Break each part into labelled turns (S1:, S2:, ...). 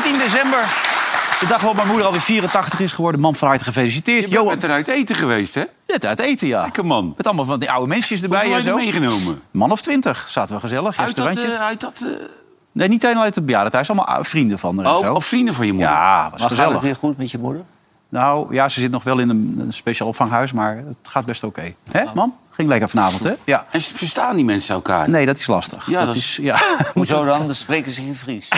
S1: november. De dag waarop mijn moeder alweer 84 is geworden. Man van harte gefeliciteerd.
S2: Je
S1: Johan,
S2: bent eruit eten geweest, hè?
S1: net uit eten, ja.
S2: Lekker man.
S1: Met allemaal van die oude mensjes erbij
S2: Hoeveel
S1: en zo.
S2: heb je meegenomen?
S1: Man of twintig zaten we gezellig.
S2: Uit dat...
S1: Restaurantje.
S2: eh, uit dat eh,
S1: Nee, niet alleen uit het bejaardentehuis. Allemaal ou- vrienden van haar en
S2: oh,
S1: Nou, zo.
S2: of vrienden van je moeder?
S1: Ja, was
S3: Maar gaat
S1: gezellig.
S3: het weer goed met je moeder?
S1: Nou, ja, ze zit nog wel in een, een speciaal opvanghuis, maar het gaat best oké. Hè, man? Ging lekker vanavond, hè? Ja.
S2: En ze verstaan die mensen elkaar?
S1: Nee, dat is lastig.
S2: Ja, dat
S1: is... Ja,
S3: Hoezo dan? Dan spreken ze geen Fries.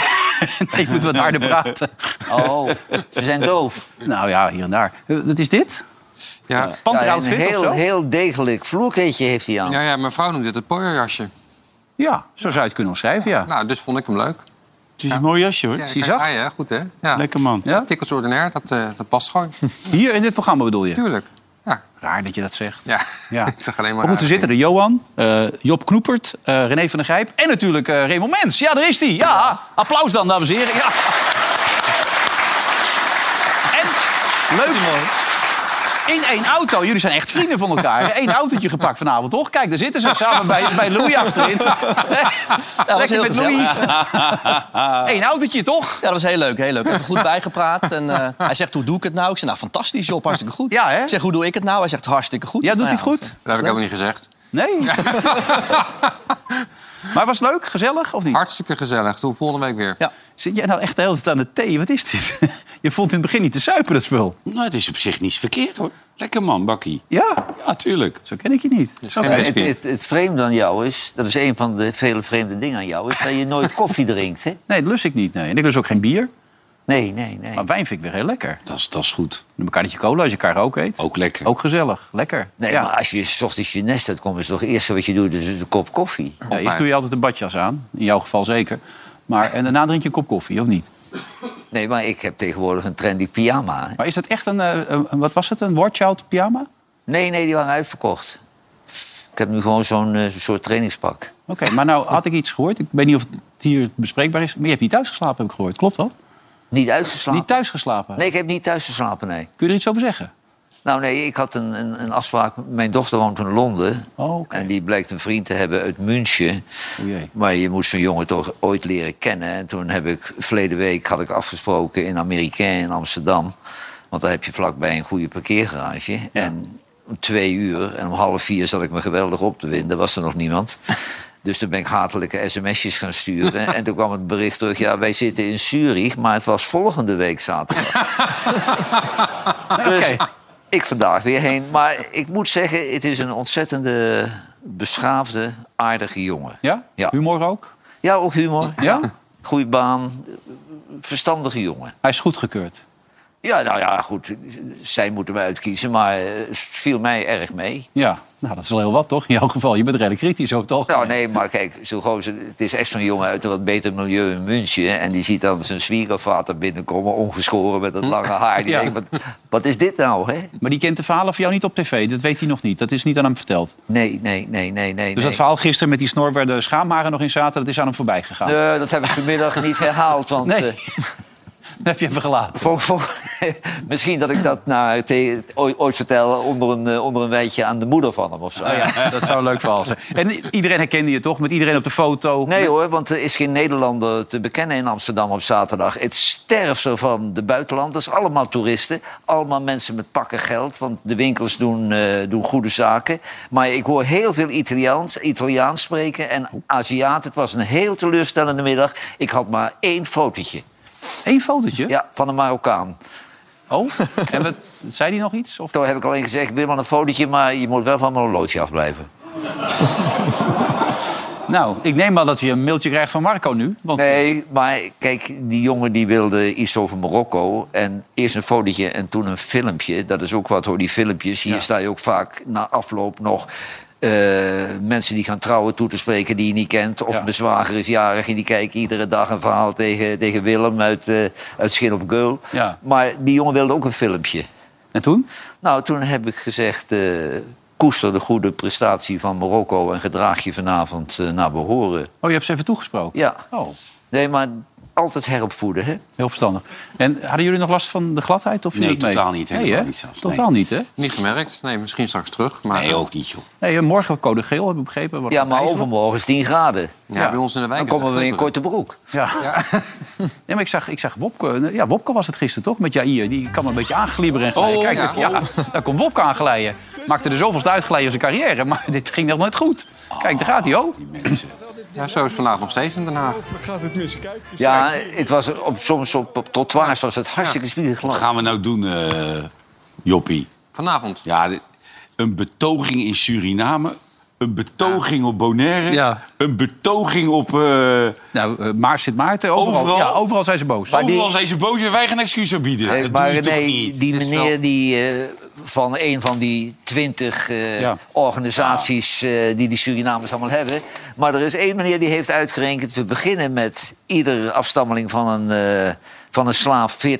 S1: ik moet wat harder praten.
S3: Oh, ze zijn doof.
S1: Nou ja, hier en daar. Eh, Wat is dit?
S4: Ja.
S3: Ja, een
S1: Panteroutfit of
S3: heel,
S1: zo?
S3: heel degelijk vloerkleedje heeft hij aan.
S4: Ja, ja, mijn vrouw noemt dit het pooierjasje.
S1: Ja, zo zou je het kunnen omschrijven, ja.
S4: Nou, dus vond ik hem leuk.
S2: Het is een mooi jasje, hoor.
S4: Ja,
S1: Zie je
S4: kijk,
S1: zacht?
S4: hij, hè? Goed, hè? Ja.
S2: Lekker man.
S1: ja?
S4: Tikkels ordinair, dat, eh, dat past gewoon.
S1: Hier in dit programma bedoel je?
S4: Tuurlijk. Ja.
S1: Raar dat je dat zegt.
S4: ja.
S1: Ja.
S4: ik zag alleen maar...
S1: Maar goed, er zitten er Johan, eh, Job Knoepert, eh, René van der Grijp en natuurlijk eh Raymond Mens. Ja, daar is hij. Ja, applaus dan, dames en heren. Ja. En, leuk man. In één auto. Jullie zijn echt vrienden van elkaar. Eén autootje gepakt vanavond, toch? Kijk, daar zitten ze samen bij, bij Louis achterin.
S5: was
S1: Lekker
S5: heel
S1: met Louis.
S5: gezellig.
S1: Eén autootje, toch?
S5: Ja, dat was heel leuk, heel leuk. Even goed bijgepraat. En, eh, hij zegt, hoe doe ik het nou? Ik zeg, nou, fantastisch, Job, hartstikke goed.
S1: Ja, hè?
S5: Ik zeg, hoe doe ik het nou? Hij zegt, hartstikke goed.
S1: Ja,
S5: Ik
S1: doet
S5: zeg,
S1: hij het
S5: nou
S1: goed?
S4: Dat heb ik helemaal niet gezegd.
S1: Nee. Maar was het leuk? Gezellig? Of niet?
S4: Hartstikke gezellig. Toen volgende week weer.
S5: Ja.
S1: Zit jij nou echt de hele tijd aan de thee? Wat is dit? Je vond in het begin niet te suipen, dat spul.
S2: Nou, het is op zich niets verkeerd, hoor. Lekker man, Bakkie.
S1: Ja,
S2: Ja, tuurlijk.
S1: zo ken ik je niet. Oké.
S4: geen
S3: Het, het, het vreemde aan jou is, dat is een van de vele vreemde dingen aan jou, is dat je nooit koffie drinkt. Hè?
S1: Nee, dat lust ik niet. Nee. En ik lust ook geen bier.
S3: Nee, nee, nee.
S1: Maar wijn vind ik weer heel lekker.
S2: Dat is, dat is goed.
S1: Een karretje cola als je karaoke eet.
S2: Ook lekker.
S1: Ook gezellig. Lekker.
S3: Nee,
S1: ja.
S3: maar als je s ochtends je nest uitkomt, is toch het eerste wat je doet, is een kop koffie.
S1: Ja, eerst doe je altijd een badjas aan. In jouw geval zeker. Maar, en daarna drink je een kop koffie, of niet?
S3: Nee, maar ik heb tegenwoordig een trendy pyjama. hè.
S1: Maar is dat echt een, eh, een- een- wat was het, een Warchild pyjama? Oké,
S3: Nee, nee, die waren uitverkocht. Ik heb nu gewoon zo'n eh, soort trainingspak.
S1: maar nou had ik iets gehoord. Ik weet niet of het hier bespreekbaar is. Maar je hebt niet thuis geslapen, heb ik gehoord. Klopt dat?
S3: Niet uitgeslapen.
S1: Niet thuis geslapen.
S3: Nee, ik heb niet thuis geslapen, nee.
S1: Kun je er iets over zeggen?
S3: Nou nee, ik had een, een, een afspraak. Mijn dochter woont in Londen.
S1: Oh, oké.
S3: En die blijkt een vriend te hebben uit München.
S1: O jee.
S3: Maar je moest zo'n jongen toch ooit leren kennen. En toen heb ik, verleden week had ik afgesproken in Amerikaan in Amsterdam. Want daar heb je vlakbij een goede parkeergarage. En om twee uur en om half vier zat ik me geweldig op te winden. Was er nog niemand. Dus toen ben ik hatelijke sms'jes gaan sturen. En toen kwam het bericht terug. Ja, wij zitten in Zurich, maar het was volgende week zaterdag. Dus ik vandaag weer heen. Maar ik moet zeggen, het is een ontzettende beschaafde, aardige jongen.
S1: Ja?
S3: Ja.
S1: Humor ook?
S3: Ja, ook humor.
S1: Ja?
S3: Goeie baan. Verstandige jongen.
S1: Hij is goedgekeurd.
S3: Ja, nou ja, goed. Zij moeten mij uitkiezen, maar eh, het viel mij erg mee.
S1: Ja, nou, dat is wel heel wat, toch? In jouw geval, je bent redelijk kritisch over het algemeen.
S3: Nou, nee, maar kijk, zo'n gozer, het is echt zo'n jongen uit een wat beter milieu in München. En die ziet dan zijn zwiegervader binnenkomen, ongeschoren met dat lange haar. Die
S1: Hm. Ja.
S3: denkt, wat, wat is dit nou, hè?
S1: Maar die kent de verhalen van jou niet op tv. Dat weet hij nog niet. Dat is niet aan hem verteld. Dus
S3: Nee, nee, nee, nee, nee. nee.
S1: dat verhaal gisteren met die snor waar de schaamharen nog in zaten... dat is aan hem voorbij gegaan.
S3: Nee, dat heb ik vanmiddag niet herhaald, want...
S1: Nee.
S3: eh,
S1: Dat heb je even gelaten.
S3: Vol- vol- misschien dat ik dat nou, te- ooit, ooit vertel onder een, eh, onder een wijtje aan de moeder van hem of zo.
S1: Oh ja, dat zou een leuk verhaal zijn. En i- iedereen herkende je toch? Met iedereen op de foto?
S3: Nee hoor, want er is geen Nederlander te bekennen in Amsterdam op zaterdag. Het sterft er van de buitenlanders. Allemaal toeristen. Allemaal mensen met pakken geld. Want de winkels doen, eh, doen goede zaken. Maar ik hoor heel veel Italiaans, Italiaans spreken en Aziaten. Het was een heel teleurstellende middag. Ik had maar één fotootje.
S1: Eén fotootje?
S3: Ja, van een Marokkaan.
S1: Oh, en wat, zei hij nog iets? Of...
S3: Toen heb ik alleen gezegd, ik wil wel een fotootje... maar je moet wel van mijn horloge afblijven.
S1: Nou, ik neem maar dat je een mailtje krijgt van Marco nu. Want
S3: Nee, maar kijk, die jongen die wilde iets over Marokko. En eerst een fotootje en toen een filmpje. Dat is ook wat hoor, die filmpjes. Hier sta je ook vaak na afloop nog... eh, mensen die gaan trouwen toe te spreken die je niet kent. Of
S1: Ja.
S3: mijn zwager is jarig en die kijkt iedere dag een verhaal tegen, tegen Willem uit, eh uit Schin op Geul.
S1: Ja.
S3: Maar die jongen wilde ook een filmpje.
S1: En toen?
S3: Nou, toen heb ik gezegd... eh, koester de goede prestatie van Marokko... en gedraag je vanavond eh, naar behoren.
S1: Oh, je hebt ze even toegesproken?
S3: Ja.
S1: Oh,
S3: Nee, maar altijd heropvoeden, hè?
S1: Heel verstandig. En hadden jullie nog last van de gladheid? Of viel
S2: Nee,
S1: het mee?
S2: totaal niet,
S1: Nee,
S2: helemaal
S1: hè?
S2: niet zelfs,
S1: Totaal niet, hè?
S4: Niet gemerkt. Nee, misschien straks terug. Maar
S2: Nee, ook niet, joh.
S1: Nee, morgen code geel, heb ik begrepen. wordt
S3: Ja, maar
S1: ijzer.
S3: overmorgen is 10 graden.
S4: eh, ja, bij ons in de wijk
S3: Dan
S4: is het
S3: komen we in
S4: echt
S3: korte broek.
S1: Ja. Nee, maar ik zag, ik zag Wopke. eh, Ja, Wopke was het gisteren toch? Met Jair. Die kan een beetje aanglibberen en glijden.
S4: Oh,
S1: Kijk,
S4: ja.
S1: ja. daar komt Wopke aanglijden. Maakte er zoveelste uitglijden als zijn carrière. Maar dit ging nog nooit goed. Kijk, daar gaat hij, oh.
S2: Die mensen.
S4: Ja, zo is vandaag nog steeds in Den Haag.
S6: Gaat het mis? Kijk.
S3: Ja, het was op, soms op, op trottoirs was het hartstikke
S2: Wat
S3: spiegelglad.
S2: gaan we nou doen, eh Joppie?
S4: Vanavond.
S2: Ja, de- een betoging in Suriname. Een betoging op Bonaire.
S1: Ja.
S2: Een betoging op... eh,
S1: Nou, eh, maar Sint Maarten. Overal,
S2: Overal?
S1: Ja, overal zijn ze boos.
S3: die-
S2: Overal zijn ze boos en wij gaan excuses bieden.
S3: Eh,
S2: dat
S3: maar
S2: doe je toch
S3: nee,
S2: niet?
S3: die
S4: Het is wel-
S3: meneer die, eh, van een van die twintig eh,
S1: Ja.
S3: organisaties eh, die die Surinamers allemaal hebben. Maar er is één meneer die heeft uitgerekend... we beginnen met iedere afstammeling van een, eh, van een slaaf 40.000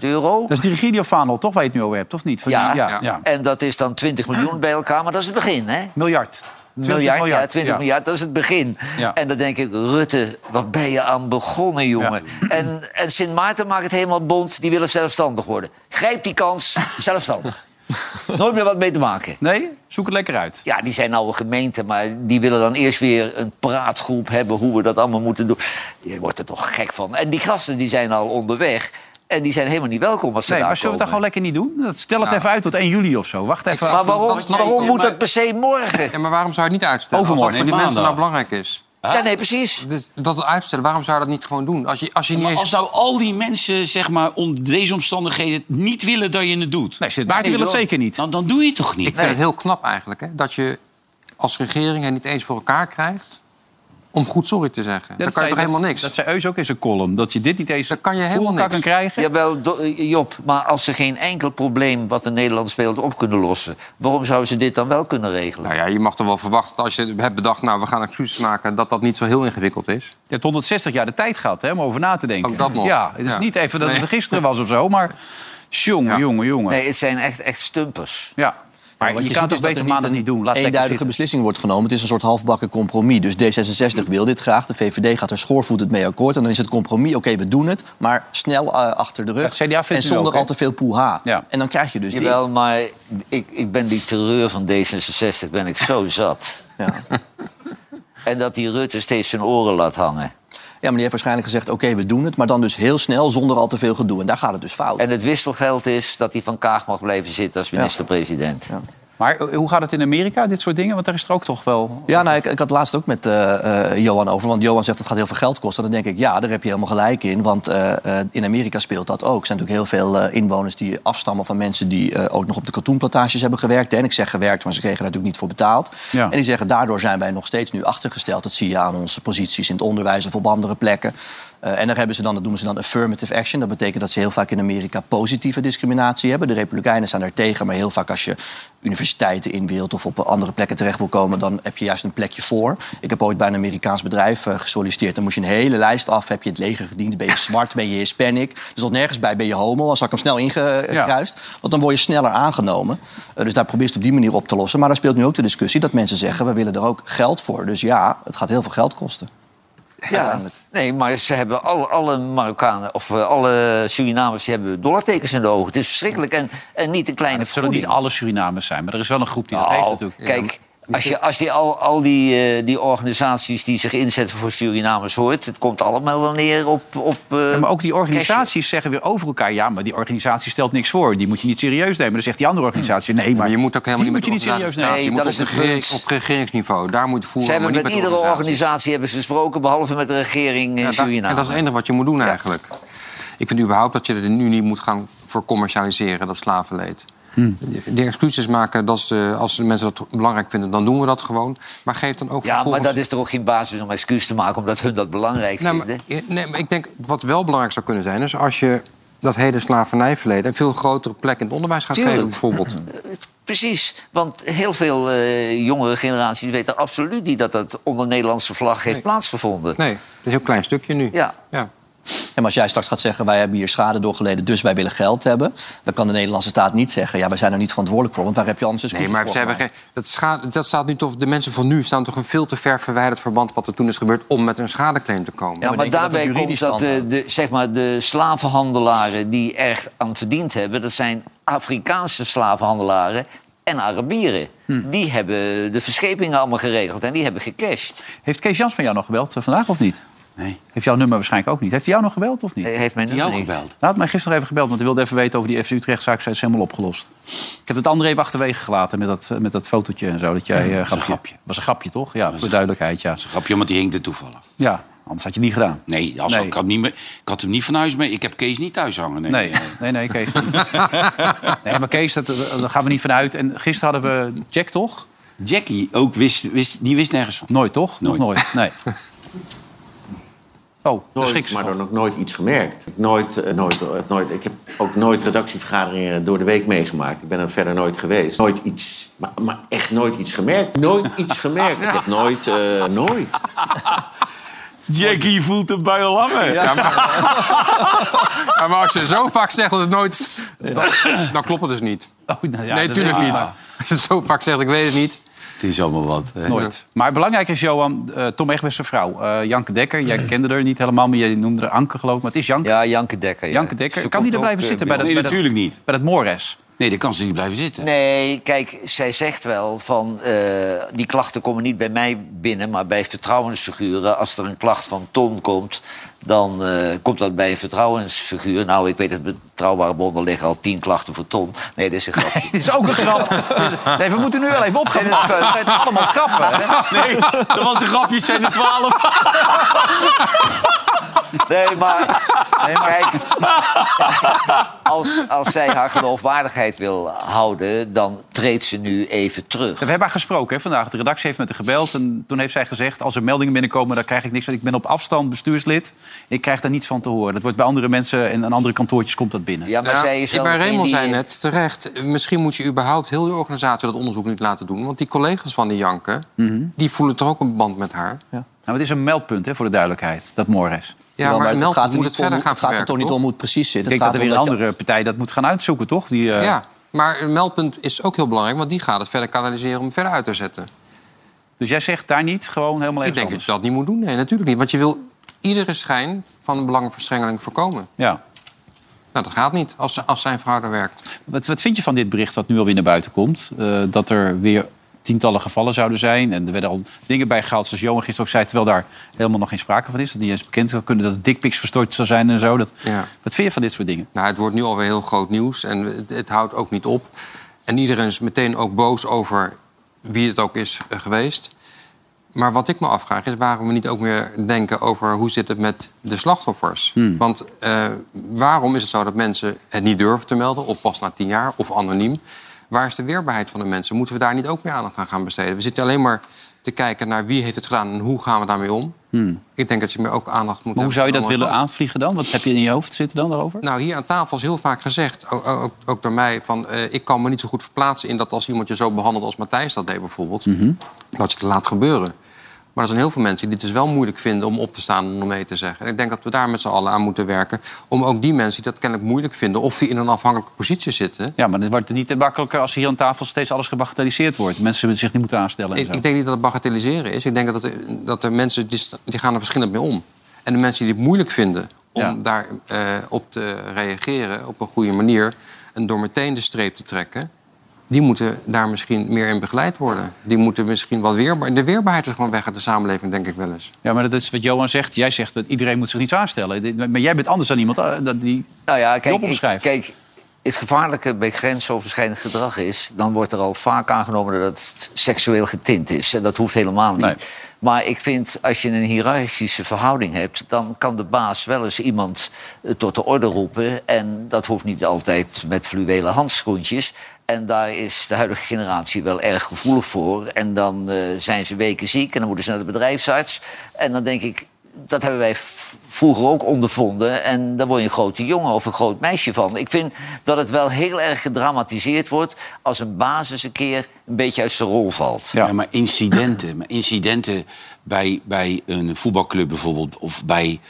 S3: euro.
S1: Dat is die Regidio Fanel, toch? Waar je het nu over hebt, of niet? Van die-
S3: Ja.
S1: ja,
S4: Ja.
S1: ja.
S3: En dat is dan 20 miljoen bij elkaar, maar dat is het begin, hè?
S1: Miljard. 20
S3: miljard, ja, 20
S1: ja.
S3: miljard, dat is het begin.
S1: Ja.
S3: En dan denk ik, Rutte, wat ben je aan begonnen, jongen. En, en Sint Maarten maakt het helemaal bond, die willen zelfstandig worden. Grijp die kans, zelfstandig. Nooit meer wat mee te maken.
S1: Nee? Zoek het lekker uit.
S3: Ja, die zijn nou een gemeente, maar die willen dan eerst weer een praatgroep hebben... hoe we dat allemaal moeten doen. Je wordt er toch gek van. En die gasten die zijn al onderweg en die zijn helemaal niet welkom als ze
S1: Nee,
S3: daar
S1: maar zullen we het dan
S3: komen.
S1: gewoon lekker niet doen? Dat- Stel
S4: Nou.
S1: het even uit tot 1 juli of zo. Wacht even. ah,
S3: Maar
S1: af.
S3: waarom,
S4: Dat is nou-
S3: waarom moet
S4: maar-
S3: dat per se morgen?
S4: Ja, maar waarom zou je het niet uitstellen? Als dat
S1: Overmorgen,
S4: voor die
S1: nee,
S4: mensen nou
S1: maandag.
S4: belangrijk is.
S3: Ja, nee, precies.
S4: Dus dat uitstellen, waarom zou je dat niet gewoon doen? Als je, als je niet
S2: Maar
S4: eens...
S2: als nou al die mensen, zeg maar, onder deze omstandigheden... niet willen dat je het doet...
S1: Nee, Sint Maarten wil het zeker niet.
S2: Dan, dan doe je het toch niet?
S4: Ik vind het heel knap eigenlijk, hè? Dat je als regering het niet eens voor elkaar krijgt... om goed sorry te zeggen.
S1: Ja,
S4: dan kan je
S1: zei-
S4: toch helemaal niks?
S1: Dat zei Eus ook in zijn column. Dat je dit niet eens
S4: Dan kan je
S1: voor
S4: helemaal
S1: elkaar
S4: niks.
S1: kan krijgen.
S3: Jawel, do- eh, Job, maar als ze geen enkel probleem wat in Nederland speelt op kunnen lossen... waarom zouden ze dit dan wel kunnen regelen?
S4: Nou ja, je mag toch wel verwachten dat als je hebt bedacht... nou, we gaan excuses maken, dat dat niet zo heel ingewikkeld is.
S1: Je hebt 160 jaar de tijd gehad hè, om over na te denken.
S4: Ook dat nog.
S1: Ja, het is
S4: Ja.
S1: niet even dat
S4: Nee.
S1: het gisteren was of zo, maar... Jongen,
S4: Ja.
S1: jongen, jongen.
S3: Nee, het zijn echt, echt stumpers.
S1: Ja. Maar je, dus
S5: wat
S1: kan
S5: ziet
S1: het ook
S5: is dat
S1: beter
S5: er
S1: maandag
S5: een
S1: niet doen. Laat het lekker
S5: eenduidige
S1: zitten.
S5: beslissing wordt genomen. Het is een soort halfbakken compromis. Dus D66
S1: Mm.
S5: wil dit graag. De VVD gaat er schoorvoetend mee akkoord. En dan is het compromis, oké, we doen het. Maar snel eh, achter de rug.
S1: Ja, het CDA vindt
S5: en
S1: nu
S5: zonder
S1: ook, hè?
S5: al te veel poeha.
S1: Ja.
S5: En dan krijg je dus dit.
S3: Jawel, maar ik, ik ben die terreur van D66 ben ik zo zat.
S5: Ja.
S3: En dat die Rutte steeds zijn oren laat hangen.
S5: Ja, maar die heeft waarschijnlijk gezegd, oké, we doen het. Maar dan dus heel snel, zonder al te veel gedoe. En daar gaat het dus fout.
S3: En het wisselgeld is dat hij van Kaag mag blijven zitten als minister-president.
S1: Maar eh, hoe gaat het in Amerika, dit soort dingen? Want daar is er ook toch wel...
S5: Ja, nou, ik, ik had het laatst ook met eh, eh, Johan over. Want Johan zegt dat gaat heel veel geld kosten. Dan denk ik, ja, daar heb je helemaal gelijk in. Want eh, eh, in Amerika speelt dat ook. Er zijn natuurlijk heel veel eh, inwoners die afstammen van mensen die eh, ook nog op de katoenplantages hebben gewerkt. hè. En ik zeg gewerkt, maar ze kregen daar natuurlijk niet voor betaald.
S1: Ja.
S5: En die zeggen, daardoor zijn wij nog steeds nu achtergesteld. Dat zie je aan onze posities in het onderwijs of op andere plekken. Eh, en daar hebben ze dan, dat noemen ze dan affirmative action. Dat betekent dat ze heel vaak in Amerika positieve discriminatie hebben. De Republikeinen staan daar tegen, maar heel vaak als je universiteiten in wilt of op andere plekken terecht wil komen, dan heb je juist een plekje voor. Ik heb ooit bij een Amerikaans bedrijf eh, gesolliciteerd. Dan moest je een hele lijst af. Heb je het leger gediend? Ben je zwart? Ben je Hispanic? Dus tot nergens bij ben je homo. Als had ik hem snel ingekruist. Want dan word je sneller aangenomen. Eh, dus daar probeer je het op die manier op te lossen. Maar daar speelt nu ook de discussie dat mensen zeggen: we willen er ook geld voor. Dus ja, het gaat heel veel geld kosten.
S3: Ja, nee, maar ze hebben alle, alle Marokkanen of eh, alle Surinamers die hebben dollartekens in de ogen. Het is verschrikkelijk en, en niet een kleine
S1: Het zullen niet
S3: vergoeding.
S1: alle Surinamers zijn, maar er is wel een groep die dat
S3: Nou,
S1: heeft natuurlijk.
S3: Kijk, als je als die, al, al die, eh, die organisaties die zich inzetten voor Surinamers hoort, het komt allemaal wel neer op. op eh,
S1: Ja, maar ook die organisaties
S3: cashen.
S1: zeggen weer over elkaar... ja, maar die organisatie stelt niks voor. Die moet je niet serieus nemen. Dan zegt die andere organisatie... nee, maar
S4: Maar je moet ook helemaal
S1: die
S4: niet
S1: moet je niet
S4: met
S1: serieus
S4: organisaties praten.
S1: nemen.
S3: Nee,
S4: je
S3: dat
S4: moet op
S3: is
S4: de
S3: het
S4: regering-
S3: punt.
S4: Op regeringsniveau, daar moet je voeren,
S3: Ze hebben
S4: maar
S3: met,
S4: niet met
S3: iedere
S4: organisaties.
S3: organisatie hebben ze gesproken, behalve met de regering in
S4: Ja, daar-
S3: Suriname.
S4: en dat is het enige wat je moet doen eigenlijk. Ik vind überhaupt dat je er nu niet moet gaan voor commercialiseren, dat slavenleed. Die excuses maken, dat is, eh, als de mensen dat belangrijk vinden, dan doen we dat gewoon. Maar geef dan ook
S3: ja, maar
S4: vervolgens-
S3: dat is toch ook geen basis om excuus te maken, omdat hun dat belangrijk
S4: Nou, maar-
S3: vinden.
S4: nee, maar ik denk wat wel belangrijk zou kunnen zijn, is als je dat hele slavernijverleden een veel grotere plek in het onderwijs gaat
S3: Tuurlijk.
S4: geven, bijvoorbeeld.
S3: Eh, Precies, want heel veel eh, jongere generaties weten absoluut niet dat dat onder Nederlandse vlag heeft plaatsgevonden.
S4: Nee, dat is een heel klein stukje nu.
S3: Ja.
S4: ja.
S5: Ja, maar als jij straks gaat zeggen, wij hebben hier schade doorgeleden, dus wij willen geld hebben. Dan kan de Nederlandse staat niet zeggen, ja, wij zijn er niet verantwoordelijk voor. Want waar heb je anders
S4: Nee,
S5: excuses
S4: maar
S5: voor
S4: ze hebben
S5: gemaakt?
S4: geen- dat, scha- dat staat nu toch. De mensen van nu staan toch een veel te ver verwijderd verband wat er toen is gebeurd om met een schadeclaim te komen.
S3: Ja,
S5: maar
S3: maar
S5: denk je dat dat
S3: daarbij komt
S5: juridisch
S3: dat
S5: dan-
S3: de, de, zeg maar, de slavenhandelaren die erg aan verdiend hebben... dat zijn Afrikaanse slavenhandelaren en Arabieren. Die hebben de verschepingen allemaal geregeld en die hebben gecashed.
S1: Heeft Kees Jansman jou nog gebeld eh, vandaag of niet?
S2: Nee.
S1: Heeft jouw nummer waarschijnlijk ook niet. Heeft hij jou nog gebeld of niet?
S3: Hij heeft mij nu
S2: Jou
S3: niet.
S2: gebeld.
S1: Nou, hij had mij gisteren even gebeld, want hij wilde even weten over die FC Utrecht-zaak. Zij is helemaal opgelost. Ik heb het andere even achterwege gelaten met dat, met dat fotootje en zo. Dat jij, eh,
S2: een
S1: grapje-
S2: grapje.
S1: was een grapje, toch? Ja, voor duidelijkheid, ja.
S2: Grapje, want die hing er toevallig.
S1: Ja, anders had je het niet gedaan.
S2: Nee, als
S1: Nee.
S2: Ik, had niet meer, ik had hem niet van huis mee. Ik heb Kees niet thuis hangen. Nee.
S1: Nee,
S2: Eh,
S1: nee, nee, Kees niet. Nee, maar Kees, dat, eh, daar gaan we niet vanuit. En gisteren hadden we Jack, toch?
S2: Jackie ook wist, wist, die wist nergens van.
S1: Nooit, toch? Nog nooit.
S2: Nooit.
S1: Nee. Oh, daar schrik
S6: Nooit,
S1: ze
S6: maar
S1: van.
S6: dan ook nooit iets gemerkt. Nooit, eh, nooit, eh, nooit, ik heb ook nooit redactievergaderingen door de week meegemaakt. Ik ben er verder nooit geweest. Nooit iets, maar, maar echt nooit iets gemerkt. Nooit iets gemerkt. Ik heb nooit, eh, nooit.
S2: Jackie voelt hem bij al langer.
S4: Maar als je zo vaak zegt dat het nooit is, dan, dan klopt het dus niet.
S1: Oh, nou ja, dat
S4: nee, natuurlijk
S1: weet ik
S4: niet. Als je zo vaak zegt, ik weet het niet.
S2: Het is allemaal wat. hè.
S1: Nooit. Maar belangrijk is, Johan, eh, Tom Egberts' zijn vrouw. eh, Janke Dekker, jij kende haar niet helemaal, maar jij noemde haar Anke geloof ik. Maar het is Janke,
S3: Ja, Janke Dekker. ja.
S1: Janke Dekker.
S3: Ze
S1: Kan die
S3: komt
S1: er blijven
S3: ook,
S1: zitten bij
S3: eh,
S1: dat,
S2: Nee,
S1: bij dat,
S2: natuurlijk niet.
S1: bij dat Mores?
S2: Nee, dan kan ze niet blijven zitten.
S3: Nee, kijk, zij zegt wel van... eh, die klachten komen niet bij mij binnen, maar bij vertrouwensfiguren. Als er een klacht van Ton komt, dan eh, komt dat bij een vertrouwensfiguur. Nou, ik weet dat betrouwbare bonden liggen al tien klachten voor Ton. Nee, dat is een grapje.
S1: Dit is ook een grap. Nee, we moeten nu wel even opgaan. Het zijn allemaal grappen. hè?
S2: Nee, dat was een grapje, zijn er twaalf.
S3: Nee, maar, kijk, als, als zij haar geloofwaardigheid wil houden... dan treedt ze nu even terug.
S1: We hebben haar gesproken hè, vandaag. De redactie heeft met haar gebeld. En toen heeft zij gezegd, als er meldingen binnenkomen... dan krijg ik niks, want ik ben op afstand bestuurslid. Ik krijg daar niets van te horen. Dat wordt bij andere mensen en aan andere kantoortjes komt dat binnen.
S3: Ja, maar
S4: Ja,
S3: zij is wel
S4: bij
S3: degene
S4: Raymond
S3: die-
S4: zei net terecht... misschien moet je überhaupt heel je organisatie dat onderzoek niet laten doen. Want die collega's van die Janke, die voelen toch ook een band met haar. Ja,
S1: Nou, het is een meldpunt, hè, voor de duidelijkheid, dat Mores.
S5: Jawel,
S4: maar,
S5: het
S4: Melk
S5: gaat er
S4: moet
S5: niet
S4: het verder
S5: om,
S4: gaan
S5: Het gaat er toch niet
S4: verwerken,
S5: om hoe het precies zit.
S1: Ik denk
S5: het
S1: dat
S5: gaat
S1: er weer een
S5: om
S1: andere partij dat moet gaan uitzoeken, toch? Die, eh,
S4: Ja, maar een meldpunt is ook heel belangrijk... want die gaat het verder kanaliseren om verder uit te zetten.
S1: Dus jij zegt daar niet, gewoon helemaal
S4: Ik
S1: even
S4: denk dat je dat niet moet doen. Nee, natuurlijk niet. Want je wil iedere schijn van een belangenverstrengeling voorkomen.
S1: Ja.
S4: Nou, dat gaat niet als, als zijn vrouw daar werkt.
S1: Wat, wat vind je van dit bericht wat nu alweer naar buiten komt? Eh, dat er weer tientallen gevallen zouden zijn. En er werden al dingen bij gehaald, zoals Johan gisteren ook zei... terwijl daar helemaal nog geen sprake van is. Dat niet eens bekend zou kunnen dat het dickpics verstoord zou zijn en zo. Dat,
S4: Ja.
S1: Wat vind je van dit soort dingen?
S4: Nou, het wordt nu alweer heel groot nieuws en het, het houdt ook niet op. En iedereen is meteen ook boos over wie het ook is eh, geweest. Maar wat ik me afvraag is waarom we niet ook meer denken over hoe zit het met de slachtoffers.
S1: Hmm.
S4: Want eh, waarom is het zo dat mensen het niet durven te melden, of pas na tien jaar, of anoniem? Waar is de weerbaarheid van de mensen? Moeten we daar niet ook meer aandacht aan gaan besteden? We zitten alleen maar te kijken naar wie heeft het gedaan en hoe gaan we daarmee om. Ik denk dat je meer ook aandacht moet
S1: Hmm. Maar hoe zou je dat
S4: aan
S1: willen
S4: andere
S1: aanvliegen dan? Wat heb je in je hoofd zitten dan daarover?
S4: nou, hier aan tafel is heel vaak gezegd, ook, ook, ook door mij, van eh, ik kan me niet zo goed verplaatsen in dat als iemand je zo behandelt als Matthijs dat deed bijvoorbeeld, dat je het laat gebeuren. Maar er zijn heel veel mensen die het dus wel moeilijk vinden om op te staan en om mee te zeggen. En ik denk dat we daar met z'n allen aan moeten werken. Om ook die mensen die dat kennelijk moeilijk vinden, of die in een afhankelijke positie zitten.
S1: Ja, maar het wordt niet makkelijker als hier aan tafel steeds alles gebagatelliseerd wordt. Mensen zich niet moeten aanstellen en
S4: Ik,
S1: zo.
S4: ik denk niet dat het bagatelliseren is. Ik denk dat, er- dat er mensen die, st- die gaan er verschillend mee om. En de mensen die het moeilijk vinden om
S1: Ja.
S4: daar eh, op te reageren op een goede manier en door meteen de streep te trekken, die moeten daar misschien meer in begeleid worden. Die moeten misschien wat weerbaar. De weerbaarheid is gewoon weg uit de samenleving, denk ik wel eens.
S1: Ja, maar dat is wat Johan zegt. Jij zegt dat iedereen moet zich niet zo aanstellen. Dit- Maar jij bent anders dan iemand eh, dat die...
S3: Nou ja, kijk,
S1: Job omschrijft.
S3: ik- kijk, het gevaarlijke bij grensoverschrijdend gedrag is... dan wordt er al vaak aangenomen dat het seksueel getint is. En dat hoeft helemaal niet.
S1: Nee.
S3: Maar ik vind, als je een hiërarchische verhouding hebt... dan kan de baas wel eens iemand eh, tot de orde roepen. En dat hoeft niet altijd met fluwelen handschoentjes. En daar is de huidige generatie wel erg gevoelig voor. En dan eh, zijn ze weken ziek en dan moeten ze naar de bedrijfsarts. En dan denk ik, dat hebben wij v- vroeger ook ondervonden. En daar word je een grote jongen of een groot meisje van. Ik vind dat het wel heel erg gedramatiseerd wordt... als een basis een keer een beetje uit zijn rol valt.
S1: Ja.
S2: Ja. maar incidenten. Maar incidenten bij, bij een voetbalclub bijvoorbeeld. Of bij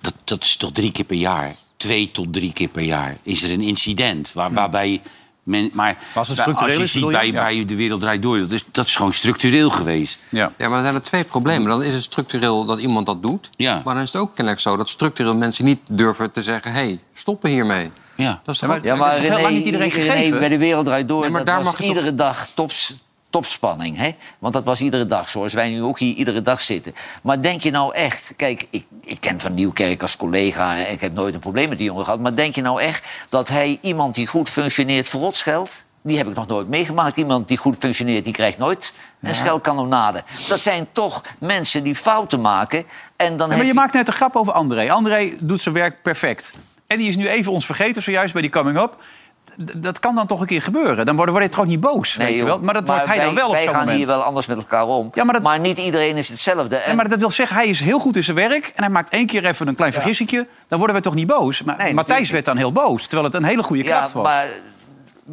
S2: dat, dat is toch drie keer per jaar? Twee tot drie keer per jaar is er een incident waar, waarbij... Men, maar
S1: als het structureel
S2: je
S1: is,
S2: ziet
S1: bedoel je?
S2: bij,
S1: Ja.
S2: bij De Wereld Draait Door, dat is, dat is gewoon structureel geweest.
S1: Ja.
S4: Ja, maar dan zijn er twee problemen. Dan is het structureel dat iemand dat doet.
S2: Ja.
S4: Maar dan is het ook kennelijk zo dat structureel mensen niet durven te zeggen... hé, hey, stoppen hiermee.
S2: Ja.
S4: Dat is toch
S1: Ja, maar-
S4: ook-
S3: Ja, maar
S1: is toch heel
S3: René,
S1: lang niet iedereen
S3: René,
S1: gegeven?
S3: bij de wereld draait door.
S4: Nee, maar
S3: dat
S4: daar
S3: was
S4: mag je
S3: iedere dag tops, topspanning. Hè? Want dat was iedere dag, zoals wij nu ook hier iedere dag zitten. Maar denk je nou echt... Kijk, ik, ik ken Van Nieuwkerk als collega. hè, Ik heb nooit een probleem met die jongen gehad. Maar denk je nou echt dat hij iemand die goed functioneert verrot scheldt? Die heb ik nog nooit meegemaakt. Iemand die goed functioneert, die krijgt nooit een scheldkanonade. Dat zijn toch mensen die fouten maken. En dan
S1: Ja,
S3: heb
S1: maar je
S3: je-
S1: maakt net een grap over André. André doet zijn werk perfect. En die is nu even ons vergeten, zojuist bij die coming-up. Dat kan dan toch een keer gebeuren. Dan worden we toch niet boos, weet je
S3: joh.
S1: wel? Maar dat wordt hij
S3: wij,
S1: dan wel op
S3: Wij
S1: zo'n
S3: gaan
S1: moment.
S3: hier wel anders met elkaar om.
S1: Ja, maar
S3: maar,
S1: dat-
S3: niet iedereen is hetzelfde. En-
S1: Nee, maar dat wil zeggen, hij is heel goed in zijn werk... en hij maakt één keer even een klein vergissingje. Dan worden we toch niet boos? Maar
S3: Nee,
S1: Matthijs
S3: natuurlijk
S1: werd dan heel boos, terwijl het een hele goede
S3: ja,
S1: kracht was.
S3: maar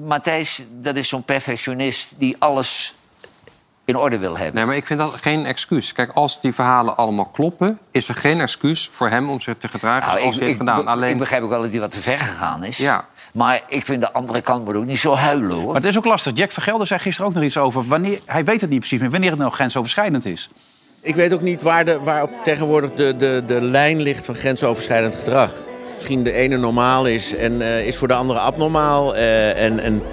S3: Matthijs, dat is zo'n perfectionist die alles in orde wil hebben.
S4: Nee, maar ik vind dat geen excuus. Kijk, als die verhalen allemaal kloppen... is er geen excuus voor hem om zich te gedragen
S3: Nou,
S4: zoals hij heeft gedaan.
S3: be- ik
S4: Alleen,
S3: begrijp ook wel dat hij wat te ver gegaan is.
S4: Ja.
S3: Maar ik vind de andere kant moet ook niet zo huilen, hoor.
S1: Maar het is ook lastig. Jack Vergelder zei gisteren ook nog iets over... Wanneer, hij weet het niet precies meer, wanneer het nou grensoverschrijdend is.
S6: Ik weet ook niet waar, de, waar op tegenwoordig de, de, de lijn ligt van grensoverschrijdend gedrag. Misschien de ene normaal is en eh, is voor de andere abnormaal. eh, en en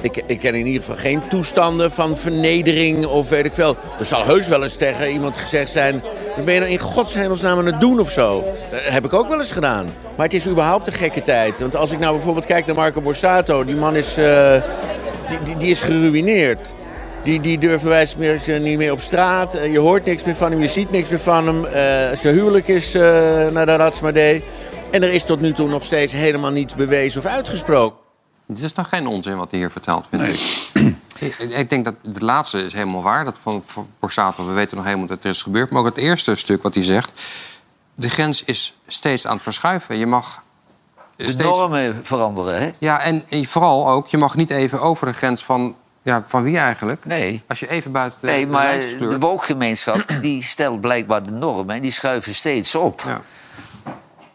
S6: ik, ik ken in ieder geval geen toestanden van vernedering of weet ik veel. Er zal heus wel eens tegen iemand gezegd zijn... wat ben je nou in godsnaam aan het doen of zo? Dat heb ik ook wel eens gedaan. Maar het is überhaupt een gekke tijd. Want als ik nou bijvoorbeeld kijk naar Marco Borsato... die man is, eh, die, die, die is geruïneerd. Die, die durft bij wijze van spreken niet meer op straat. Eh, Je hoort niks meer van hem, je ziet niks meer van hem. Eh, zijn huwelijk is eh, naar de Ratsmadee. En er is tot nu toe nog steeds helemaal niets bewezen of uitgesproken.
S4: dit is nou geen onzin wat hij hier vertelt, vind ik. ik. Ik denk dat het laatste is helemaal waar. Dat van van Borsato, we weten nog helemaal dat er is gebeurd. Maar ook het eerste stuk wat hij zegt... de grens is steeds aan het verschuiven. Je mag...
S3: de normen veranderen, hè?
S4: Ja, en vooral ook, je mag niet even over de grens van... Ja, van wie eigenlijk?
S3: Nee.
S4: Als je even buiten de,
S3: Nee,
S4: de
S3: maar
S4: lijntjes kleurt.
S3: de wookgemeenschap die stelt blijkbaar de normen... en die schuiven steeds op.
S4: Ja.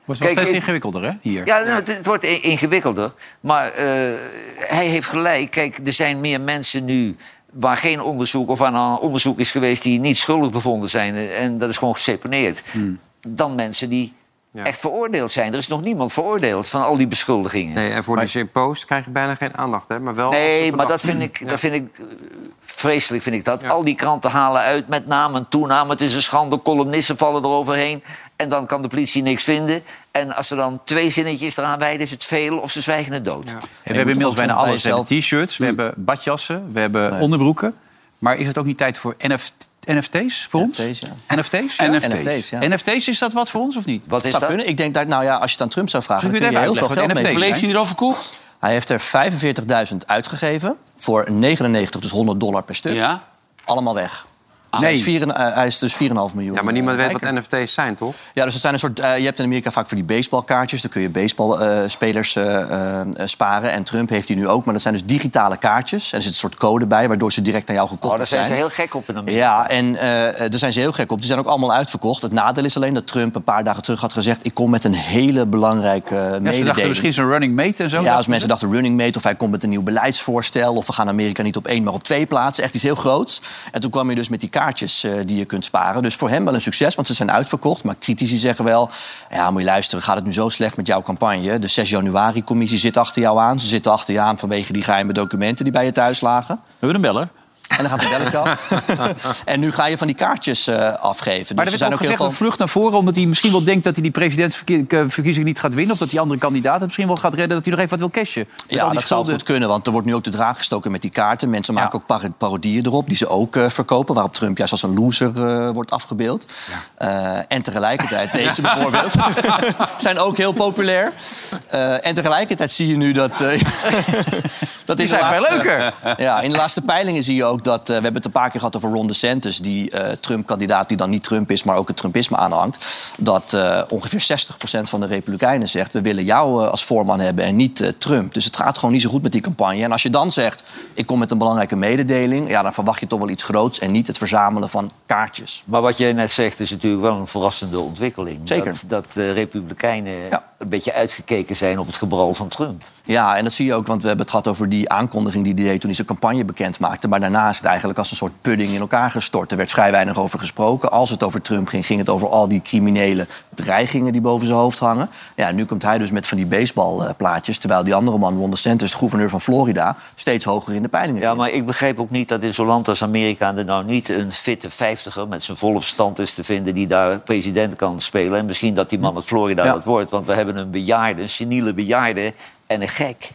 S1: Wordt wel
S3: Kijk,
S1: steeds
S3: ik-
S1: ingewikkelder, hè, hier.
S3: Ja, nou, het, het wordt i- ingewikkelder. Maar eh, hij heeft gelijk. Kijk, er zijn meer mensen nu waar geen onderzoek of aan een onderzoek is geweest die niet schuldig bevonden zijn. eh, En dat is gewoon geseponeerd. Dan mensen die echt veroordeeld zijn. Er is nog niemand veroordeeld van al die beschuldigingen. Nee,
S4: Nee, en voor die post krijg je bijna geen aandacht, hè? Maar wel.
S3: maar dat vind ik, dat vind ik eh, vreselijk. Vind ik dat. Al die kranten halen uit met naam en toename. Het is een schande. Columnisten vallen eroverheen. En dan kan de politie niks vinden. En als ze dan twee zinnetjes eraan wijden, is het veel of ze zwijgen het dood.
S1: En we hebben
S5: moet
S1: inmiddels
S5: ook
S1: bijna
S5: zelf bij Mm.
S1: alles. We hebben t-shirts, we hebben badjassen, we hebben onderbroeken. Maar is het ook niet tijd voor NF NFT's voor ons?
S5: NFT's, ja.
S1: NFT's? ja?
S2: NFT's.
S5: NFT's, ja.
S1: NFT's, is dat wat voor ons of niet?
S3: Wat is
S5: zou
S3: dat?
S5: kunnen. Ik denk dat, nou ja, als je het aan Trump zou vragen,
S1: Kun
S5: dan
S1: je
S5: kun je
S1: het
S5: heel
S1: even
S5: veel
S1: uitleggen
S5: geld
S1: wat
S5: mee
S1: NFT is?
S2: Heeft hij er al verkocht?
S5: Hij heeft er 45.000 uitgegeven voor 99, dus 100 dollar per stuk.
S2: Ja.
S5: Allemaal weg. Dus hij, is
S1: Nee.
S5: vier, en- eh, hij is dus 4,5 miljoen.
S4: Ja, maar niemand weet wat NFT's zijn, toch?
S5: Ja, dus dat zijn een soort. eh, je hebt in Amerika vaak voor die baseballkaartjes. Dan kun je eh, baseballspelers eh, sparen. En Trump heeft die nu ook. Maar dat zijn dus digitale kaartjes. En er zit een soort code bij, waardoor ze direct aan jou
S3: Oh,
S5: gekoppeld
S3: daar zijn ze heel gek op in Amerika.
S5: Ja, en eh, eh, daar zijn ze heel gek op. Die zijn ook allemaal uitverkocht. Het nadeel is alleen dat Trump een paar dagen terug had gezegd... ik kom met een hele belangrijke eh,
S1: Ja, ze dachten
S5: mededeling.
S1: misschien zijn running mate en zo.
S5: Ja, als
S1: dachten
S5: mensen
S1: ze.
S5: dachten running mate of hij komt met een nieuw beleidsvoorstel... of we gaan Amerika niet op één, maar op twee plaatsen. Echt iets heel groots. En toen kwam je dus met die kaartjes eh, die je kunt sparen. Dus voor hem wel een succes, want ze zijn uitverkocht. Maar critici zeggen wel, ja, moet je luisteren, gaat het nu zo slecht met jouw campagne? De 6 januari-commissie zit achter jou aan. Ze zitten achter je aan vanwege die geheime documenten die bij je thuis lagen.
S1: We hebben een beller.
S5: En dan gaat de belletje af. en nu ga je van die kaartjes eh, afgeven.
S1: Maar
S5: dus
S1: er
S5: er
S1: werd ook
S5: zijn ook heel
S1: gezegd
S5: veel...
S1: een vlucht naar voren... omdat hij misschien wel denkt dat hij die presidentsverkiezing niet gaat winnen... of dat die andere kandidaat het misschien wel gaat redden... dat hij nog even wat wil cashen. Met al
S5: Ja,
S1: die
S5: dat zou
S1: schulden.
S5: goed kunnen, want er wordt nu ook de draag gestoken met die kaarten. Mensen maken ook par- parodieën erop, die ze ook eh, verkopen... waarop Trump juist als een loser eh, wordt afgebeeld. Eh, en tegelijkertijd, deze bijvoorbeeld, zijn ook heel populair. Eh, en tegelijkertijd zie je nu dat... eh, dat is
S1: Die zijn veel leuker.
S5: Ja, in de laatste peilingen zie je ook ook dat... eh, we hebben het een paar keer gehad over Ron DeSantis... die eh, Trump-kandidaat die dan niet Trump is, maar ook het Trumpisme aanhangt... dat eh, ongeveer 60% van de Republikeinen zegt... we willen jou eh, als voorman hebben en niet eh, Trump. Dus het gaat gewoon niet zo goed met die campagne. En als je dan zegt, ik kom met een belangrijke mededeling... Ja, dan verwacht je toch wel iets groots en niet het verzamelen van kaartjes.
S3: Maar wat jij net zegt is natuurlijk wel een verrassende ontwikkeling.
S5: Zeker.
S3: Dat, dat de Republikeinen
S5: Ja.
S3: een beetje uitgekeken zijn op het gebral van Trump.
S5: Ja, en dat zie je ook, want we hebben het gehad over die aankondiging die hij deed toen hij zijn campagne bekend maakte. Maar daarna is het eigenlijk als een soort pudding in elkaar gestort. Er werd vrij weinig over gesproken. Als het over Trump ging, ging het over al die criminele dreigingen die boven zijn hoofd hangen. Ja, nu komt hij dus met van die baseballplaatjes, terwijl die andere man, Ron DeSantis, de gouverneur van Florida, steeds hoger in de peilingen
S3: Ja,
S5: ging.
S3: maar ik begrijp ook niet dat in zo'n land als Amerika er nou niet een fitte vijftiger met zijn volle verstand is te vinden die daar president kan spelen. En misschien dat die man uit Florida
S5: Ja.
S3: dat wordt, want we hebben een bejaarde, een seniele bejaarde en een gek.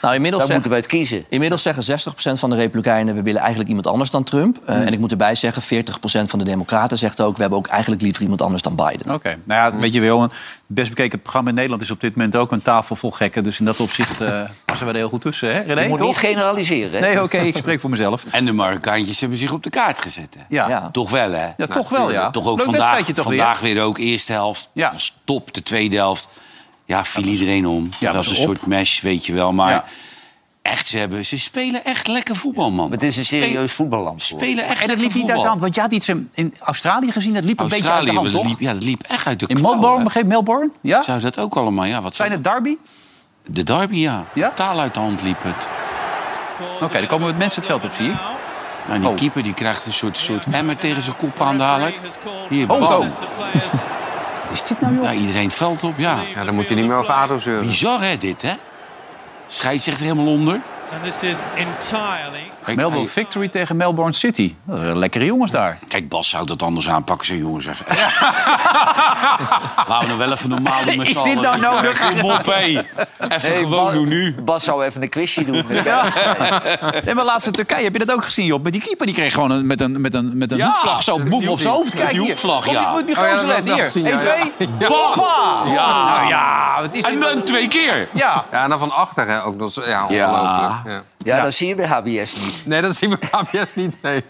S5: Nou, inmiddels
S3: Daar
S5: zegt-
S3: moeten we uit kiezen.
S5: Inmiddels zeggen 60% van de Republikeinen... we willen eigenlijk iemand anders dan Trump. Eh, En ik moet erbij zeggen, 40% van de Democraten zegt ook... we hebben ook eigenlijk liever iemand anders dan Biden.
S1: Oké, nou ja, weet je wel, het best bekeken programma in Nederland is op dit moment ook een tafel vol gekken. Dus in dat opzicht eh, passen we er heel goed tussen, hè René,
S3: je moet
S1: toch?
S3: niet generaliseren. hè?
S1: Nee, oké, ik spreek voor mezelf.
S2: En de Marokkaantjes hebben zich op de kaart gezet. hè?
S1: Ja,
S5: Ja.
S1: ja.
S2: Toch wel, hè? Nou,
S1: toch wel, ja.
S2: Toch ook
S1: Leuk
S2: vandaag,
S1: wedstrijdje toch
S2: vandaag weer. ook eerste helft.
S1: Ja.
S2: Was top, de tweede helft. Ja, viel iedereen om. dat was
S1: was
S2: een
S1: op.
S2: soort match, weet je wel. Maar
S1: Ja.
S2: echt, ze, hebben, ze spelen echt lekker voetbal, man.
S3: Maar het is een serieus voetballand. hoor.
S2: spelen echt
S1: En dat liep
S2: lekker
S1: niet uit de
S2: voetbal.
S1: hand. Want jij had iets in, in Australië gezien. Dat liep Oh, een beetje uit de hand,
S2: Australië, dat
S1: toch?
S2: liep, ja, dat liep echt uit de
S1: In
S2: klauwen.
S1: Melbourne, begreep Melbourne? Ja?
S2: Zou dat ook allemaal, ja. Wat
S1: Zijn
S2: zou-
S1: het derby?
S2: De derby, ja.
S1: Ja?
S2: Taal uit de hand liep het.
S1: Oké, dan komen we met mensen het veld op, zie ik.
S2: Nou, die
S1: Oh.
S2: keeper die krijgt een soort, soort emmer tegen zijn kop aan dadelijk. Hier,
S1: Oh,
S2: bam.
S1: oh. Is dit nou, joh?
S2: Ja, iedereen het veld op, ja.
S4: Ja, dan moet je niet meer over ADO zeuren.
S2: Bizar, hè, dit, hè? Scheidt zich er helemaal onder.
S7: And this is entirely
S2: Kijk,
S1: Melbourne
S2: hij-
S1: Victory tegen Melbourne City. Dat zijn Lekkere jongens daar.
S2: Kijk, Bas zou dat anders aanpakken, zo jongens. Even. Laten we nog wel even normaal doen met
S1: Is
S2: z'n
S1: dit
S2: allen.
S1: nou nodig?
S2: Kom op, hé. Even
S3: Hey,
S2: gewoon
S3: Ba-
S2: doen nu.
S3: Bas zou even een quizje doen.
S1: En maar laatste Turkije, heb je dat ook gezien, Job? Met die keeper, die kreeg gewoon een, met een, met een, met een
S2: Ja,
S1: hoekvlag zo
S2: met
S1: boem
S2: die
S1: op zijn hoofd.
S2: hoekvlag.
S1: Kijk
S2: Met die
S1: hier.
S2: hoekvlag,
S1: Kom,
S2: ja.
S1: je moet die
S4: Oh, ja,
S1: gozer
S4: dat heb ik
S1: letten.
S4: nog gezien, ja,
S1: Hier, 1, 2, hoppa!
S2: Ja.
S1: Nou ja, wat is dit
S2: En
S1: nou?
S2: dan twee keer.
S1: Ja.
S4: Ja, en dan van achter, hè, ook. Dat is, ja, ongelooflijk. Ja.
S3: Ja, dat zie je bij HBS niet.
S4: Nee, dat zien we KBS niet. Nee.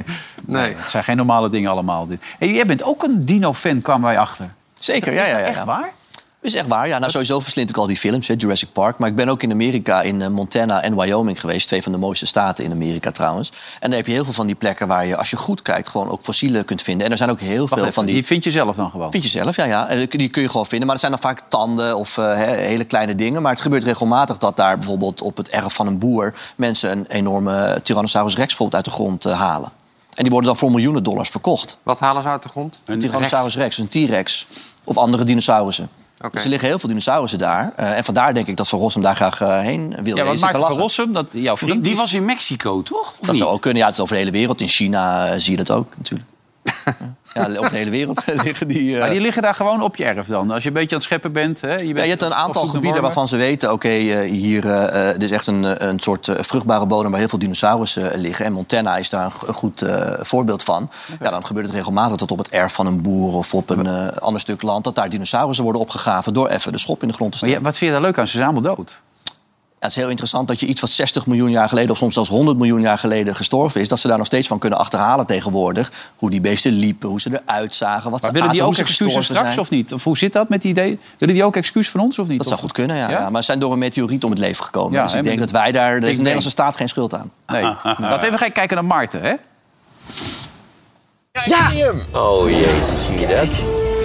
S4: nee.
S1: Het zijn geen normale dingen allemaal. Dit. Hey, jij bent ook een dino-fan, kwamen wij achter.
S5: Zeker, ja, ja, ja.
S1: Echt
S5: ja.
S1: waar?
S5: Is echt waar, ja. Nou, sowieso verslind ik al die films, hè, Jurassic Park. Maar ik ben ook in Amerika, in eh, Montana en Wyoming geweest. Twee van de mooiste staten in Amerika trouwens. En daar heb je heel veel van die plekken waar je, als je goed kijkt... gewoon ook fossielen kunt vinden. En er zijn ook heel veel
S1: Even,
S5: van die...
S1: Die vind je zelf dan gewoon.
S5: Vind je zelf, ja, ja. En Die kun je gewoon vinden. Maar dat zijn dan vaak tanden of eh, hè, hele kleine dingen. Maar het gebeurt regelmatig dat daar bijvoorbeeld op het erf van een boer... mensen een enorme Tyrannosaurus rex bijvoorbeeld uit de grond eh, halen. En die worden dan voor miljoenen dollars verkocht.
S4: Wat halen ze uit de grond?
S5: Een Tyrannosaurus rex, een T-rex of andere dinosaurussen.
S4: Oké.
S5: Dus er liggen heel veel dinosaurussen daar. Eh, en vandaar denk ik dat Van Rossum daar graag eh, heen wil.
S1: Ja,
S5: Je
S1: wat
S5: zit te
S1: maakt Van
S5: lachen.
S1: Rossum? Dat, jouw
S2: Die,
S1: vriend
S2: die was in Mexico, toch? Of
S5: Dat
S2: niet?
S5: zou ook kunnen. Ja, het is over de hele wereld. In China eh, zie je dat ook natuurlijk. ja, over de hele wereld liggen die... eh,
S1: Maar die liggen daar gewoon op je erf dan. Als je een beetje aan het scheppen bent. Hè, je, bent
S5: Ja, je hebt een aantal gebieden waarvan ze weten, oké, eh, hier eh, eh, dit is echt een, eh, een soort eh, vruchtbare bodem waar heel veel dinosaurussen eh, liggen. En Montana is daar een, g- een goed eh, voorbeeld van. Ja, dan gebeurt het regelmatig dat op het erf van een boer of op een eh, ander stuk land, dat daar dinosaurussen worden opgegraven door even de schop in de grond te
S1: Maar
S5: steken.
S1: Oh ja, wat vind je daar leuk aan? Ze zijn allemaal dood.
S5: Ja, het is heel interessant dat je iets wat 60 miljoen jaar geleden... of soms zelfs 100 miljoen jaar geleden gestorven is... dat ze daar nog steeds van kunnen achterhalen tegenwoordig. Hoe die beesten liepen, hoe ze eruit zagen, wat
S1: Maar
S5: ze
S1: willen die
S5: aten,
S1: ook
S5: hoe ze
S1: excuses
S5: gestorven
S1: straks
S5: zijn.
S1: of niet? Of hoe zit dat met die idee? Willen die ook excuus van ons of niet?
S5: Dat zou
S1: Of-
S5: goed kunnen, ja,
S1: Ja?
S5: ja. Maar ze zijn door een meteoriet om het leven gekomen.
S1: Ja,
S5: dus
S1: en
S5: ik denk
S1: met-
S5: dat wij daar... Daar heeft de
S1: denk-
S5: Nederlandse staat geen schuld aan.
S1: Nee. Laten we even gaan kijken naar Maarten. Hè?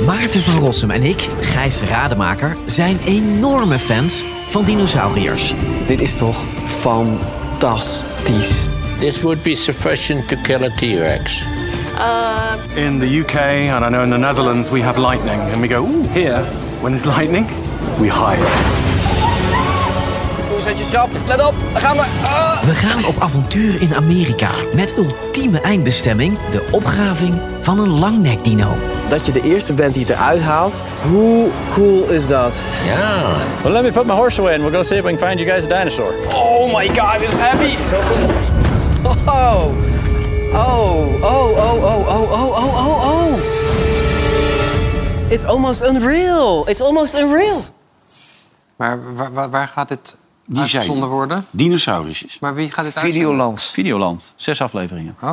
S8: Maarten van Rossum en ik, Gijs Rademaker, zijn enorme fans van dinosauriërs.
S9: Dit is toch fantastisch.
S10: This would be sufficient to kill a T-Rex.
S11: In the UK and I know in the Netherlands we have lightning and we go, ooh, here, when there's lightning, we hide.
S9: Zet je schrap, let op, daar gaan we. Ah!
S8: We gaan op avontuur in Amerika met ultieme eindbestemming: de opgraving van een langnekdino.
S9: Dat je de eerste bent die het eruit haalt, hoe cool is dat?
S11: Well, let me put my horse away and we'll go see if we can find you guys a dinosaur.
S9: Oh my god, this is heavy! Oh, oh, oh, oh, oh, oh, oh, oh, oh, oh! It's almost unreal, it's almost unreal!
S4: Maar waar, waar- waar gaat dit
S2: Die
S4: Uitgezonden worden?
S2: Dinosaurusjes.
S4: Maar wie gaat dit
S3: Videoland.
S1: Videoland. Zes afleveringen.
S4: Oh.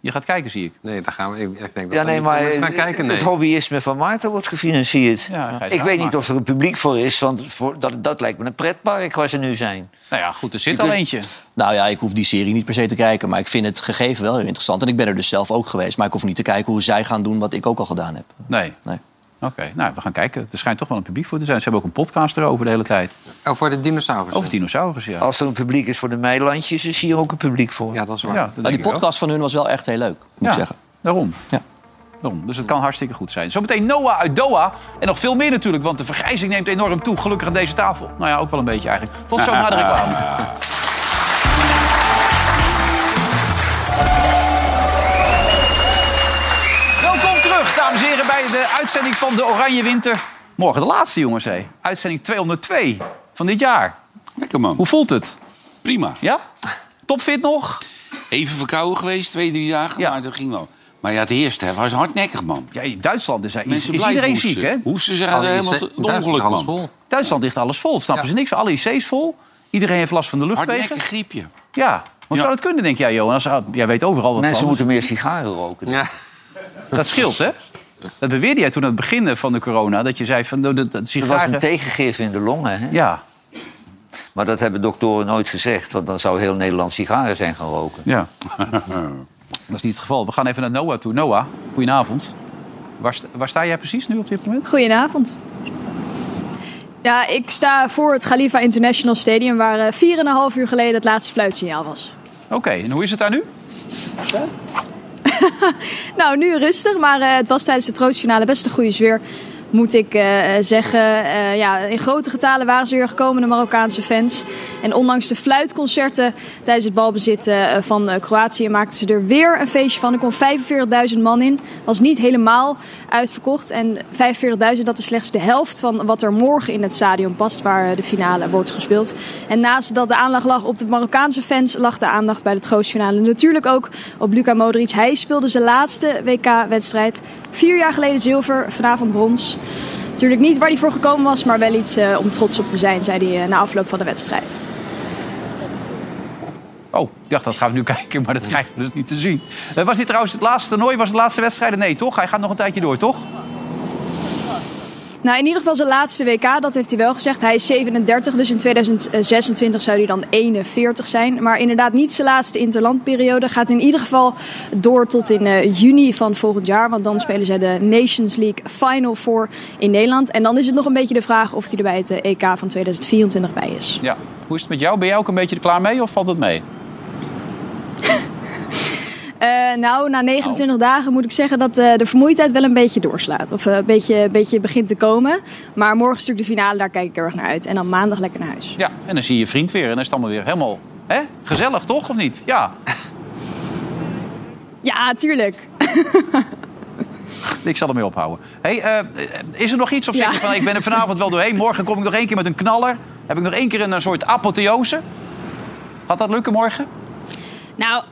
S1: Je gaat kijken, zie ik.
S4: Nee, daar gaan we. Ik, ik denk dat
S3: Ja, nee, maar
S4: we gaan kijken. Nee.
S3: het hobbyisme van Maarten wordt gefinancierd.
S1: Ja, ga je
S3: ik
S1: het
S3: weet niet
S1: uitmaken.
S3: of er een publiek voor is, want voor, dat, dat lijkt me een pretpark waar ze nu zijn.
S1: Nou ja, goed, er zit al eentje.
S5: Nou ja, ik hoef die serie niet per se te kijken. Maar ik vind het gegeven wel heel interessant. En ik ben er dus zelf ook geweest. Maar ik hoef niet te kijken hoe zij gaan doen wat ik ook al gedaan heb.
S1: Nee.
S5: Nee.
S1: Oké, nou, we gaan kijken. Er schijnt toch wel een publiek voor te zijn. Ze hebben ook een podcast erover de hele tijd.
S4: Oh, voor de dinosaurus.
S1: Over dinosaurus, ja.
S5: Oh.
S3: Als er een publiek is voor de meilandjes, is hier ook een publiek voor.
S4: Ja, dat is waar. Oh,
S1: ja dat denk
S5: Nou,
S1: ik
S5: die
S1: wel.
S5: podcast van hun was wel echt heel leuk, moet ik
S1: Ja,
S5: zeggen.
S1: Daarom.
S5: Ja.
S1: daarom. Dus het kan hartstikke goed zijn. Zometeen Noah uit Doha. En nog veel meer natuurlijk, want de vergrijzing neemt enorm toe. Gelukkig aan deze tafel. Nou ja, ook wel een beetje eigenlijk. Tot zo na de reclame. Welkom terug, dames en heren, bij de uitzending van de Oranje Winter. Morgen de laatste, jongens. Hé. Uitzending 202 van dit jaar.
S2: Lekker man.
S1: Hoe voelt het?
S2: Prima.
S1: Ja? Topfit nog?
S2: Even verkouden geweest, twee, drie dagen,
S1: Ja.
S2: maar dat ging wel. Maar ja, het eerste hè, was hardnekkig, man.
S1: Ja, in Duitsland is, is, is
S2: Mensen
S1: iedereen
S2: blijven hoesten.
S1: ziek, hè?
S2: Hoesten ze
S4: Al Oh, die
S2: helemaal
S4: IC
S2: te- het
S4: Duitsland
S2: ongeluk,
S4: alles
S2: man.
S4: vol.
S1: Duitsland ligt alles vol, snappen ze niks. van. Alle IC's vol. Iedereen heeft last van de luchtwegen.
S2: Hardnekkig griepje.
S1: Ja, hoe zou dat kunnen, denk jij, Johan? Als, jij weet overal wat
S3: Mensen
S1: van.
S3: moeten meer sigaren roken.
S4: Ja.
S1: Dat scheelt, hè? Dat beweerde jij toen aan het begin van de corona. Dat je zei van, de, de, de
S3: Er was
S1: sigaren...
S3: een tegengif in de longen, hè?
S1: ja,
S3: maar dat hebben doktoren nooit gezegd, want dan zou heel Nederland sigaren zijn gaan roken.
S1: ja. dat is niet het geval. We gaan even naar Noah toe. Noah, goedenavond. Waar, sta- waar sta jij precies nu op dit moment?
S12: Goedenavond. Ja, ik sta voor het Khalifa International Stadium waar eh 4,5 uur geleden het laatste fluitsignaal was.
S1: Oké, en hoe is het daar nu?
S12: Nou, nu rustig, maar eh, het was tijdens de troostfinale best een goede sfeer, moet ik eh, zeggen. Eh, ja, in grote getalen waren ze weer gekomen, de Marokkaanse fans. En ondanks de fluitconcerten tijdens het balbezit eh, van eh, Kroatië maakten ze er weer een feestje van. Er kon 45.000 man in, was niet helemaal uitverkocht. En 45.000, dat is slechts de helft van wat er morgen in het stadion past, waar eh, de finale wordt gespeeld. En naast dat de aandacht lag op de Marokkaanse fans, lag de aandacht bij de troostfinale natuurlijk ook op Luka Modric. Hij speelde zijn laatste WK-wedstrijd. Vier jaar geleden zilver, vanavond brons. Natuurlijk niet waar hij voor gekomen was, maar wel iets eh, om trots op te zijn, zei hij eh, na afloop van de wedstrijd.
S1: Oh, ik dacht, dat gaan we nu kijken, maar dat krijgen we dus niet te zien. Eh, Was dit trouwens het laatste toernooi? Was het laatste wedstrijd? Nee, toch? Hij gaat nog een tijdje door, toch?
S12: Nou, in ieder geval zijn laatste WK, dat heeft hij wel gezegd. Hij is 37, dus in 2026 zou hij dan 41 zijn. Maar inderdaad niet zijn laatste interlandperiode. Gaat in ieder geval door tot in eh, juni van volgend jaar. Want dan spelen zij de Nations League Final Four in Nederland. En dan is het nog een beetje de vraag of hij er bij het eh, EK van 2024 bij is.
S1: Ja. Hoe is het met jou? Ben jij ook een beetje er klaar mee of valt het mee?
S12: Eh, nou, na 29 dagen moet ik zeggen dat eh, de vermoeidheid wel een beetje doorslaat. Of eh, een, beetje, een beetje begint te komen. Maar morgen is natuurlijk de finale, daar kijk ik heel erg naar uit. En dan maandag lekker naar huis.
S1: Ja, en dan zie je je vriend weer en dan is het allemaal weer helemaal... Hè? Gezellig, toch? Of niet? Ja.
S12: Ja, tuurlijk.
S1: Ik zal ermee ophouden. Hey, eh, is er nog iets op
S12: Ja.
S1: zich van ik ben er vanavond wel doorheen. Morgen kom ik nog één keer met een knaller. Heb ik nog één keer een, eh, soort apotheose. Gaat dat lukken morgen?
S12: Nou,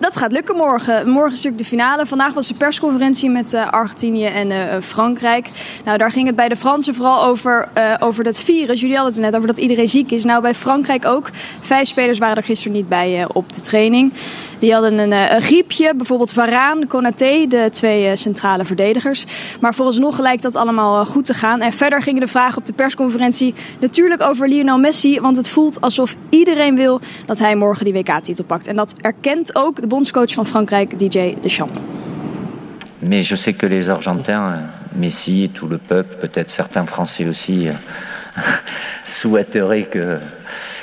S12: dat gaat lukken morgen. Morgen is natuurlijk de finale. Vandaag was de persconferentie met eh, Argentinië en eh, Frankrijk. Nou, daar ging het bij de Fransen vooral over, eh, over dat virus. Jullie hadden het er net over dat iedereen ziek is. Nou, bij Frankrijk ook. Vijf spelers waren er gisteren niet bij eh, op de training. Die hadden een, eh, een griepje. Bijvoorbeeld Varaan, Konaté, de twee eh, centrale verdedigers. Maar vooralsnog lijkt dat allemaal eh, goed te gaan. En verder gingen de vragen op de persconferentie natuurlijk over Lionel Messi. Want het voelt alsof iedereen wil dat hij morgen die WK-titel pakt. En dat erkent ook de bondscoach van Frankrijk, DJ Deschamps.
S13: Mais je sais que les Argentins, euh, Messi, tout le peuple, peut-être certains Français aussi, euh, souhaiteraient que.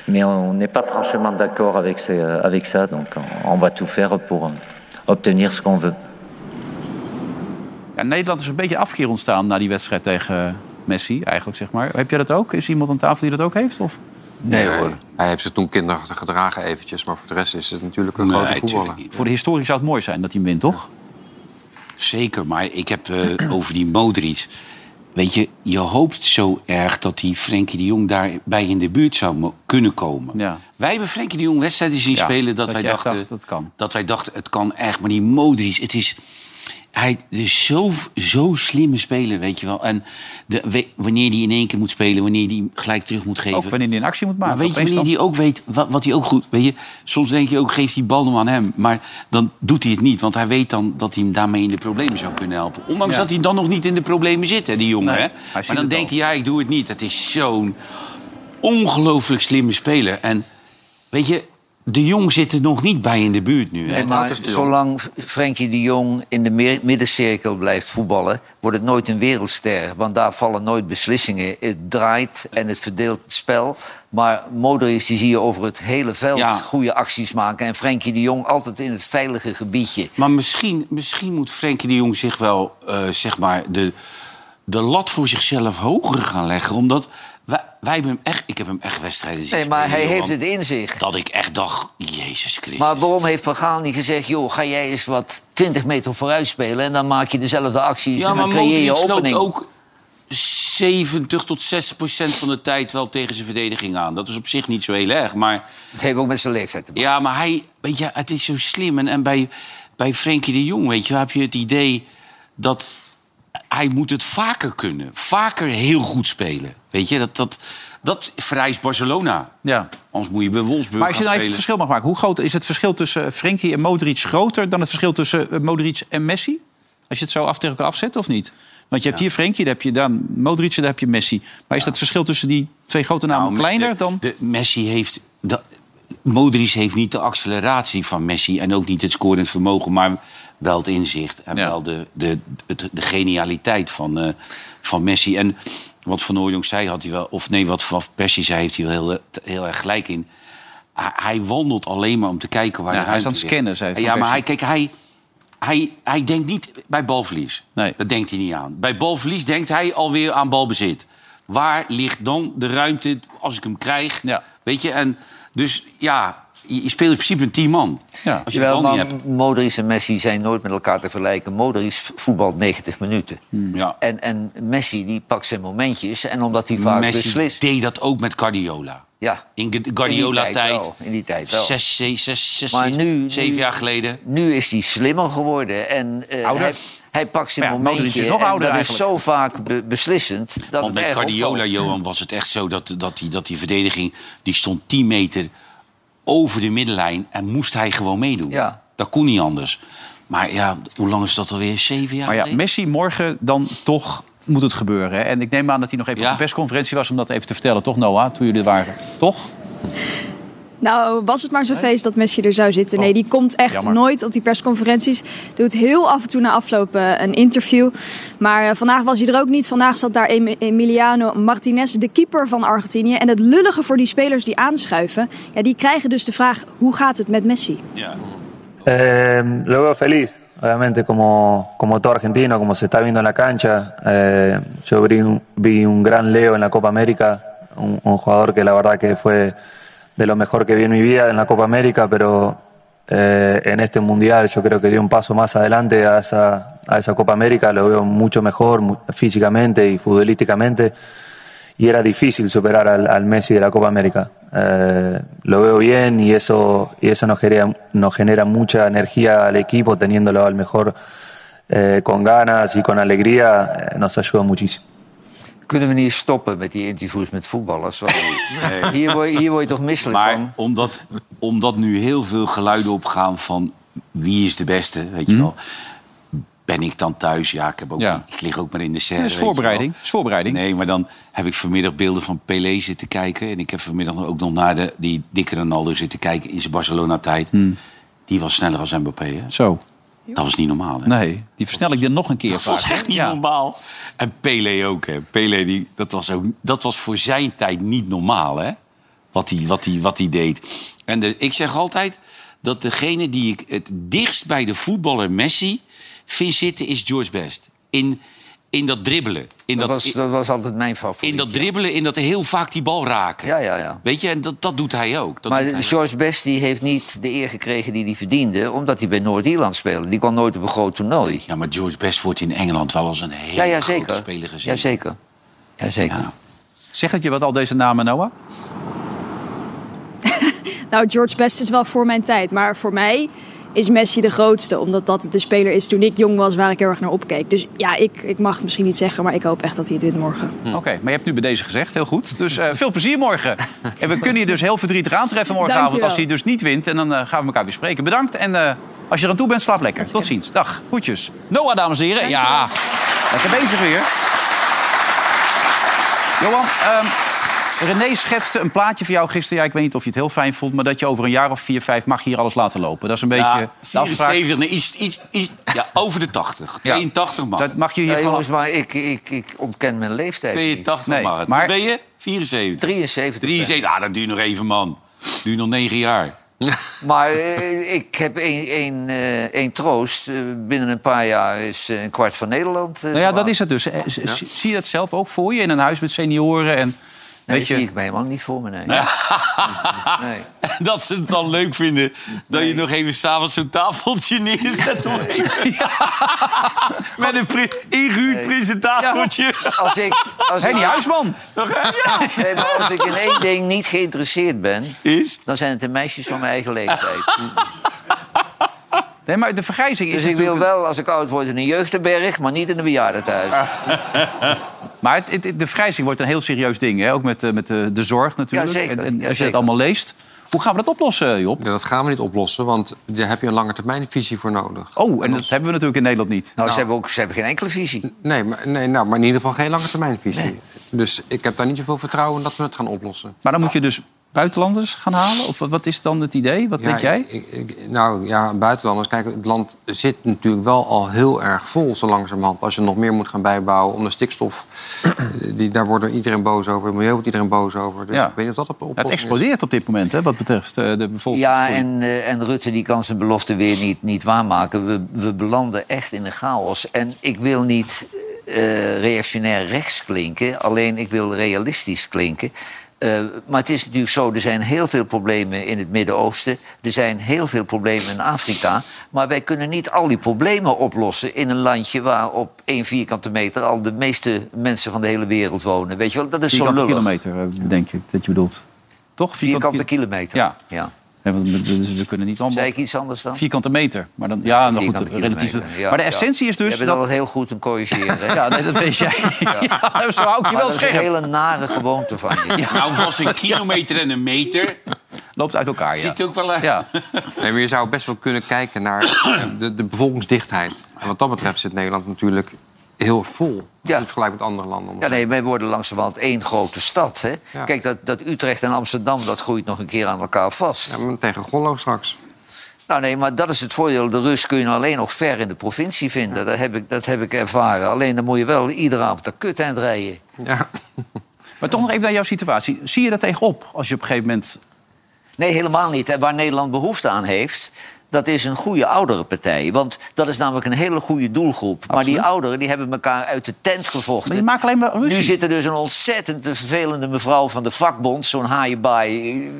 S13: Mais on n'est pas franchement d'accord avec, ces- euh, avec ça, donc on- on va tout faire pour euh, obtenir ce qu'on veut.
S1: Ja, in Nederland is een beetje afkeer ontstaan na die wedstrijd tegen eh, Messi eigenlijk, zeg maar. Heb jij dat ook? Is iemand aan tafel die dat ook heeft? Of?
S4: Nee hoor. Hij heeft zich toen kinderachtig gedragen eventjes, maar voor de rest is het natuurlijk een grote voetballer.
S2: tuurlijk niet.
S1: Voor de historie zou het mooi zijn dat hij hem wint, toch?
S2: Zeker, maar ik heb eh, over die Modric. Weet je, je hoopt zo erg dat die Frenkie de Jong daarbij in de buurt zou mo- kunnen komen.
S1: Ja.
S2: Wij hebben Frenkie de Jong wedstrijden zien
S1: Ja,
S2: spelen dat,
S1: dat
S2: wij
S1: je echt
S2: dachten...
S1: dacht, dat kan.
S2: Dat wij dachten, het kan echt, maar die Modric, het is... hij is zo, zo slimme speler, weet je wel. En de, we- wanneer die in één keer moet spelen, wanneer die gelijk terug moet geven.
S1: Ook wanneer hij een actie moet maken.
S2: Maar weet je,
S1: opeens
S2: wanneer die ook weet wat, wat hij ook goed... Weet je, soms denk je ook, geef die bal nou aan hem. Maar dan doet hij het niet. Want hij weet dan dat hij hem daarmee in de problemen zou kunnen helpen. Ondanks
S1: Ja.
S2: dat hij dan nog niet in de problemen zit, hè, die jongen.
S1: Nee,
S2: hè?
S1: hij ziet
S2: Maar dan
S1: het
S2: denkt hij, ja, ik doe het niet. Het is zo'n ongelooflijk slimme speler. En weet je, de jong zit er nog niet bij in de buurt nu. hè?
S3: En maar zolang Frenkie de Jong in de meer- middencirkel blijft voetballen... wordt het nooit een wereldster. Want daar vallen nooit beslissingen. Het draait en het verdeelt het spel. Maar Modric die zie je over het hele veld
S2: Ja.
S3: goede acties maken. En Frenkie de Jong altijd in het veilige gebiedje.
S2: Maar misschien, misschien moet Frenkie de Jong zich wel eh, zeg maar de, de lat voor zichzelf hoger gaan leggen. Omdat wij, wij hebben hem echt, ik heb hem echt wedstrijden zien
S3: Nee, maar
S2: spelen,
S3: hij heeft
S2: Johan,
S3: het in zich.
S2: Dat ik echt dacht, Jezus Christus.
S3: Maar waarom heeft Van Gaal niet gezegd... joh, ga jij eens wat 20 meter vooruit spelen... en dan maak je dezelfde acties
S2: ja,
S3: en
S2: maar
S3: dan creëer je
S2: Modric loopt
S3: opening.
S2: ook 70 tot 60 procent van de tijd wel tegen zijn verdediging aan. Dat is op zich niet zo heel erg, maar...
S3: Het heeft ook met zijn leeftijd te
S2: Ja, maar hij, weet je, het is zo slim. En, en bij, bij Frenkie de Jong, weet je, heb je het idee dat hij moet het vaker kunnen. Vaker heel goed spelen. Weet je, dat, dat, dat vereist Barcelona.
S1: Ja.
S2: Anders moet je bij Wolfsburg
S1: Maar als je
S2: gaan
S1: nou even het
S2: spelen.
S1: verschil mag maken, hoe groot is het verschil tussen eh, Frenkie en Modric groter dan het verschil tussen eh, Modric en Messi? Als je het zo af tegen elkaar afzet of niet? Want je hebt hier Frenkie, daar heb je dan Modric, daar heb je Messi. Maar is dat verschil tussen die twee grote namen
S2: Nou,
S1: kleiner dan?
S2: De, Messi heeft... dat- Modric heeft niet de acceleratie van Messi... en ook niet het scorend vermogen, maar wel het inzicht... en wel de, de, het- de genialiteit van, eh, van Messi. En wat Van Hooydonk zei, had hij wel... of nee, wat Van Persie zei, heeft hij wel heel, heel erg gelijk in. Hij, hij wandelt alleen maar om te kijken waar
S1: Ja,
S2: de
S1: hij is
S2: ruimte
S1: aan het
S2: ligt.
S1: scannen, zei Van
S2: Ja, maar
S1: Persie.
S2: hij, kijk, hij, hij, hij denkt niet bij balverlies.
S1: Nee.
S2: Dat denkt hij niet aan. Bij balverlies denkt hij alweer aan balbezit. Waar ligt dan de ruimte als ik hem krijg? Weet je, en dus ja, je, je speelt in principe een tien man. Als je
S3: Jawel,
S2: het wel niet
S3: maar
S2: hebt.
S3: Modric en Messi zijn nooit met elkaar te vergelijken. Modric voetbalt 90 minuten.
S2: Hmm. Ja.
S3: En, en Messi die pakt zijn momentjes. En omdat hij vaak
S2: Messi
S3: beslist...
S2: deed dat ook met Guardiola.
S3: Ja,
S2: In de Guardiola-tijd.
S3: wel, in die tijd wel.
S2: Zes, zes, zes, zes,
S3: Maar nu-
S2: zeven
S3: nu-
S2: jaar geleden.
S3: nu is hij slimmer geworden. En eh,
S2: Ouder.
S3: hij, hij pakt zijn
S2: Maar ja, Modric
S3: momentje.
S2: is nog
S3: en
S2: ouder
S3: dat is
S2: eigenlijk.
S3: zo vaak be- beslissend. Dat
S2: Want
S3: het
S2: met
S3: erg
S2: Guardiola,
S3: opvalt.
S2: Johan, was het echt zo dat, dat, die, dat die verdediging... die stond 10 meter over de middenlijn en moest hij gewoon meedoen.
S3: Ja.
S2: Dat kon niet anders. Maar ja, hoe lang is dat alweer? Zeven jaar
S1: Maar ja,
S2: geleden?
S1: Messi morgen dan toch moet het gebeuren. Hè? En ik neem aan dat hij nog even op de persconferentie was om dat even te vertellen, toch Noah? Toen jullie er waren, toch?
S12: Nou, was het maar zo'n feest dat Messi er zou zitten. Nee, die komt echt
S1: jammer.
S12: nooit op die persconferenties. Doet heel af en toe na afloop eh, een interview. Maar eh, vandaag was hij er ook niet. Vandaag zat daar Em- Emiliano Martinez, de keeper van Argentinië. En het lullige voor die spelers die aanschuiven... Ja, die krijgen dus de vraag, hoe gaat het met Messi?
S14: Eh, lo veo feliz, obviamente, como, como todo argentino, como se está viendo en la cancha. Eh, yo vi un, vi un gran Leo en la Copa América, un, un jugador que la verdad que fue de lo mejor que vi en mi vida en la Copa América, pero eh, en este Mundial yo creo que dio un paso más adelante a esa, a esa Copa América, lo veo mucho mejor mu- físicamente y futbolísticamente y era difícil superar al, al Messi de la Copa América. Eh, lo veo bien y eso, y eso nos, genera, nos genera mucha energía al equipo, teniéndolo al mejor eh, con ganas y con alegría, eh, nos ayuda muchísimo.
S3: Kunnen we niet eens stoppen met die interviews met voetballers? Want
S2: Nee.
S3: hier, word, je- hier word je toch misselijk
S2: maar
S3: van?
S2: Omdat, omdat nu heel veel geluiden opgaan van wie is de beste, weet
S1: Hm?
S2: je wel. Ben ik dan thuis? Ja, ik, heb ook, ik lig ook maar in de serre.
S1: Ja, is
S2: weet je wel.
S1: voorbereiding, is voorbereiding.
S2: Nee, maar dan heb ik vanmiddag beelden van Pelé zitten kijken. En ik heb vanmiddag ook nog naar de, die dikke Ronaldo zitten kijken in zijn Barcelona-tijd.
S1: Hm.
S2: Die was sneller als Mbappé. Hè?
S1: Zo.
S2: Dat was niet normaal. Hè?
S1: Nee, die versnelling er nog een keer
S2: Dat was
S1: vaak, hè?
S2: echt niet normaal. En Pelé ook. Hè. Pelé, die, dat, was ook, dat was voor zijn tijd niet normaal, hè? Wat hij wat die, wat die deed. En de- ik zeg altijd dat degene die ik het dichtst bij de voetballer Messi vind zitten, is George Best. In, in dat dribbelen. In
S3: Dat
S2: dat,
S3: was, dat was altijd mijn favoriet.
S2: in dat dribbelen, in dat heel vaak die bal raken.
S3: Ja, ja, ja.
S2: Weet je, en dat, dat doet hij ook. Dat doet hij
S3: maar
S2: ook.
S3: George Best die heeft niet de eer gekregen die hij verdiende... omdat hij bij Noord-Ierland speelde. Die kwam nooit op een groot toernooi.
S2: Ja, maar George Best wordt in Engeland wel als een hele
S3: Ja, ja,
S2: grote
S3: zeker.
S2: speler gezien.
S3: Ja, zeker. Ja, zeker.
S1: Zegt het je wat al deze namen, Noah?
S12: Nou, George Best is wel voor mijn tijd. Maar voor mij is Messi de grootste. Omdat dat de speler is toen ik jong was waar ik heel erg naar opkeek. Dus ja, ik, ik mag het misschien niet zeggen, maar ik hoop echt dat hij het wint morgen.
S1: Oké, maar je hebt nu bij deze gezegd, heel goed. Dus eh, veel plezier morgen. En we kunnen je dus heel verdrietig aantreffen morgenavond
S12: Dankjewel.
S1: als hij dus niet wint. En dan eh, gaan we elkaar weer spreken. Bedankt en eh, als je eraan toe bent, slaap lekker. Tot ziens. Dag. Goedjes. Noah, dames en heren. Ja, lekker bezig weer. Johan, ehm, René schetste een plaatje voor jou gisteren. Ja, ik weet niet of je het heel fijn vond, maar dat je over een jaar of vier, vijf mag hier alles laten lopen. Dat is een beetje
S2: Ja,
S1: de afspraak.
S2: 74, nee, iets, iets, iets, ja, over de 80. 82 mag.
S1: Dat mag je hier
S3: Ja,
S1: gewoon-
S3: jongens, maar ik, ik, ik ontken mijn leeftijd.
S2: 82
S3: niet.
S2: mag. Maar... Ben je? 74.
S3: 73.
S2: 73. Ah, dat duurt nog even, man. Dat duurt nog 9 jaar.
S3: Maar eh, ik heb één- één eh, één troost. Eh, binnen een paar jaar is eh, een kwart van Nederland.
S1: Nou ja, dat is het dus. Eh, z- z- Zie je dat zelf ook voor je in een huis met senioren? En,
S3: Nee,
S1: weet je...
S3: zie ik me helemaal niet voor me, nee. Nee.
S2: Dat ze het dan leuk vinden dat je nog even s'avonds zo'n tafeltje neerzet. om even- Met een pre- ingehuurd presentatortje.
S3: Als ik, als ik-
S2: Nog, ja.
S3: Nee, maar als ik in één ding niet geïnteresseerd ben...
S2: Is?
S3: dan zijn het de meisjes van mijn eigen leeftijd.
S1: Nee, maar de vergrijzing is
S3: Dus ik wil
S1: natuurlijk- Ah,
S3: wel, als ik oud word, in een jeugdherberg... maar niet in een bejaardentehuis. Nou,
S1: Maar het, het- de vergrijzing wordt een heel serieus ding. Hè? Ook met, eh, met de, de zorg natuurlijk.
S3: Ja, zeker.
S1: En, en
S3: Ja,
S1: als je
S3: zeker.
S1: het allemaal leest. Hoe gaan we dat oplossen, eh, Job?
S4: Ja, dat gaan we niet oplossen, want daar heb je een langetermijnvisie voor nodig.
S1: Oh, en dat hebben we natuurlijk in Nederland niet.
S3: Nou, Ze, hebben ook, ze hebben geen enkele visie.
S4: Nee, maar, nee nou, maar in ieder geval geen langetermijnvisie. Dus ik heb daar niet zoveel vertrouwen in dat we het gaan oplossen.
S1: Maar dan moet je dus buitenlanders gaan halen? Of wat- wat is dan het idee? Wat
S4: Ja,
S1: denk jij?
S4: ik- ik- nou ja, buitenlanders. Kijk, het land zit natuurlijk wel al heel erg vol zo langzamerhand. Als je nog meer moet gaan bijbouwen om de stikstof... eh, die, daar wordt iedereen boos over, het milieu wordt iedereen boos over. Dus
S1: Ja.
S4: ik weet niet of dat op
S1: het
S4: oplossing is.
S1: explodeert op dit moment, hè, wat betreft eh, de bevolking.
S3: Ja, en, eh, en Rutte die kan zijn belofte weer niet, niet waarmaken. We, we belanden echt in de chaos. En ik wil niet eh, reactionair rechts klinken, alleen ik wil realistisch klinken. Eh, maar het is natuurlijk zo, er zijn heel veel problemen in het Midden-Oosten. Er zijn heel veel problemen in Afrika. Maar wij kunnen niet al die problemen oplossen in een landje... waar op één vierkante meter al de meeste mensen van de hele wereld wonen. Weet je wel, dat is zo
S1: vierkante
S3: lullig.
S1: kilometer, eh, denk ik, dat je bedoelt. Toch?
S3: Vierkante
S1: kil-
S3: kilometer.
S1: Ja.
S3: ja.
S1: Ja, want we- dus we kunnen niet allemaal...
S3: Zei ik iets anders dan?
S1: Vierkante meter. Maar dan, ja, nou goed,
S3: Vierkante
S1: relatief.
S3: kilometer, ja,
S1: maar de
S3: ja.
S1: essentie is dus...
S3: Jij bent
S1: dat-
S3: al heel goed in corrigeren. hè?
S1: Ja, Ah, nee, dat weet jij. Ja. nou, zo hou ik je
S3: Maar
S1: wel
S3: dat is een
S1: scherp.
S3: hele nare gewoonte van je.
S2: Nou, vast een kilometer en een meter.
S1: Loopt uit elkaar, ja.
S2: Ziet ook wel eh, uit.
S1: Ja.
S4: Nee, maar je zou best wel kunnen kijken naar de, de bevolkingsdichtheid. En wat dat betreft zit Nederland natuurlijk heel vol. Ja. Vergelijk met andere landen. om-
S3: Ja, nee, wij worden langzamerhand één grote stad. Hè? Kijk, dat, dat Utrecht en Amsterdam, dat groeit nog een keer aan elkaar vast.
S4: Ja, maar tegen Gollo straks.
S3: Nou nee, maar dat is het voordeel. De rust kun je nou alleen nog ver in de provincie vinden. Dat, heb ik, dat heb ik ervaren. Alleen dan moet je wel iedere avond dat kut eind rijden.
S4: Ja.
S1: Maar toch nog even naar jouw situatie. Zie je dat tegenop als je op een gegeven moment...
S3: Nee, helemaal niet. En waar Nederland behoefte aan heeft, dat is een goede ouderenpartij. Want dat is namelijk een hele goede doelgroep. Maar die ouderen die hebben elkaar uit de tent gevochten.
S1: Maar je maakt alleen maar ruzie.
S3: Nu zit er dus een ontzettend vervelende mevrouw van de vakbond, zo'n haaienbaai, eh,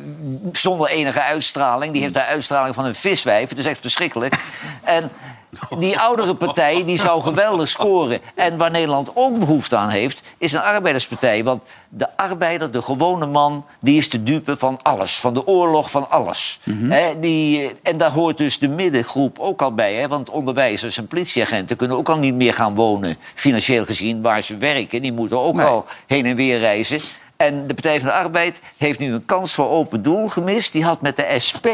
S3: zonder enige uitstraling. Die heeft de uitstraling van een viswijf. Het is echt verschrikkelijk. En die oudere partij die zou geweldig scoren. En waar Nederland ook behoefte aan heeft, is een arbeiderspartij. Want de arbeider, de gewone man, die is de dupe van alles. Van de oorlog, van alles. Hè, die, eh, en daar hoort dus de middengroep ook al bij. Hè? Want onderwijzers en politieagenten kunnen ook al niet meer gaan wonen. Financieel gezien, waar ze werken. Die moeten ook al heen en weer reizen. En de Partij van de Arbeid heeft nu een kans voor open doel gemist. Die had met de SP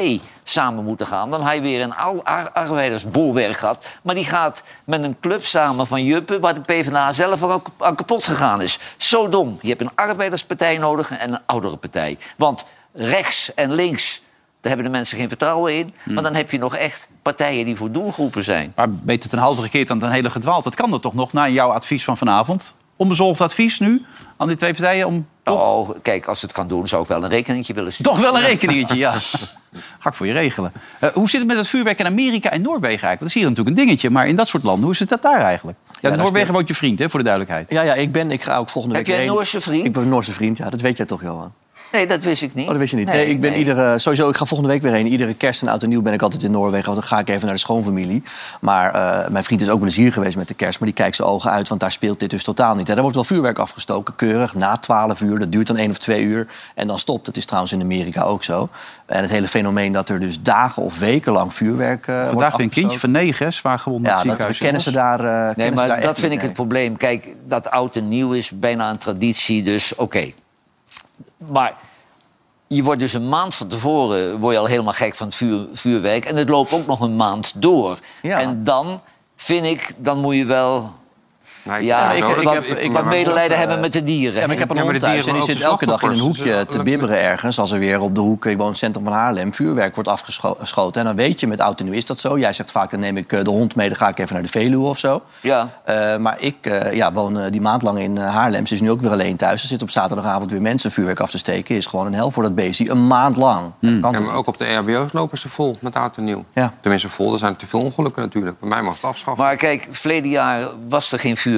S3: samen moeten gaan. Dan had je weer een al- ar- arbeidersbolwerk gehad. Maar die gaat met een club samen van Juppen... waar de PvdA zelf al kap- aan kapot gegaan is. Zo dom. Je hebt een arbeiderspartij nodig en een oudere partij. Want rechts en links, daar hebben de mensen geen vertrouwen in. Maar dan heb je nog echt partijen die voor doelgroepen zijn.
S1: Maar beter ten halve gekeerd dan ten hele gedwaald. Dat kan er toch nog, na jouw advies van vanavond. Onbezorgd advies nu aan die twee partijen om...
S3: Oh, kijk, als het kan doen, zou ik wel een rekeningetje willen sturen.
S1: Toch wel een rekeningetje, ja. Ga ik voor je regelen. Eh, hoe zit het met het vuurwerk in Amerika en Noorwegen eigenlijk? Dat is hier natuurlijk een dingetje, maar in dat soort landen, hoe zit dat daar eigenlijk? Ja, in
S5: daar
S1: Noorwegen
S5: speel-
S1: woont je vriend, hè, voor de duidelijkheid.
S5: Ja, ja ik, ben, ik ga ook volgende
S3: Heb
S5: week
S3: jij een
S5: heen.
S3: Noorse vriend?
S5: Ik ben een Noorse vriend, ja, dat weet jij toch, Johan?
S3: Nee, dat wist ik niet.
S5: Oh, dat wist je niet. Nee, ik ben iedere, sowieso, ik ga volgende week weer heen. Iedere kerst en oud en nieuw ben ik altijd in Noorwegen. Want dan ga ik even naar de schoonfamilie. Maar eh, mijn vriend is ook plezier geweest met de kerst. Maar die kijkt zijn ogen uit, want daar speelt dit dus totaal niet. Hè. Daar wordt wel vuurwerk afgestoken, keurig, na 12 uur. Dat duurt dan één of twee uur. En dan stopt. Dat is trouwens in Amerika ook zo. En het hele fenomeen dat er dus dagen of weken lang vuurwerk eh wordt
S1: Vandaag weer een kindje
S5: afgestoken.
S1: van negen, hè, zwaar gewond in het
S5: Ja, dat
S1: ziekenhuis.
S5: kennen ze
S1: jongens.
S5: daar. eh, kennen
S3: Nee,
S5: ze daar
S3: maar
S5: echt
S3: dat
S5: niet
S3: vind ik
S5: mee.
S3: het probleem. Kijk, dat oud en nieuw is bijna een traditie, dus oké. Maar je wordt dus een maand van tevoren word je al helemaal gek van het vuur, vuurwerk. En het loopt ook nog een maand door. En dan vind ik, dan moet je wel. ja,
S5: ik- ik
S3: wat,
S5: heb- ik
S3: wat
S5: heb-
S3: medelijden
S5: eh,
S3: hebben met de dieren.
S5: Ja, maar ik heb een hond thuis en die zit elke dag in een hoekje te bibberen ergens. Als er weer op de hoek, ik woon in het centrum van Haarlem, vuurwerk wordt afgeschoten. En dan weet je, met oud en nieuw is dat zo. Jij zegt vaak, dan neem ik eh, de hond mee, dan ga ik even naar de Veluwe of zo.
S3: Ja.
S5: Eh, maar ik eh, ja, woon eh, die maand lang in eh, Haarlem. Ze is nu ook weer alleen thuis. Ze zit op zaterdagavond weer mensen vuurwerk af te steken. Is gewoon een hel voor dat beestje. Een maand lang. Kan
S4: Ja,
S5: toch
S4: maar ook op de EHBO's lopen ze vol met oud en nieuw. Tenminste, vol. Er zijn te veel ongelukken natuurlijk. Voor mij mag het afschaffen.
S3: Maar kijk, verleden jaar was er geen vuurwerk.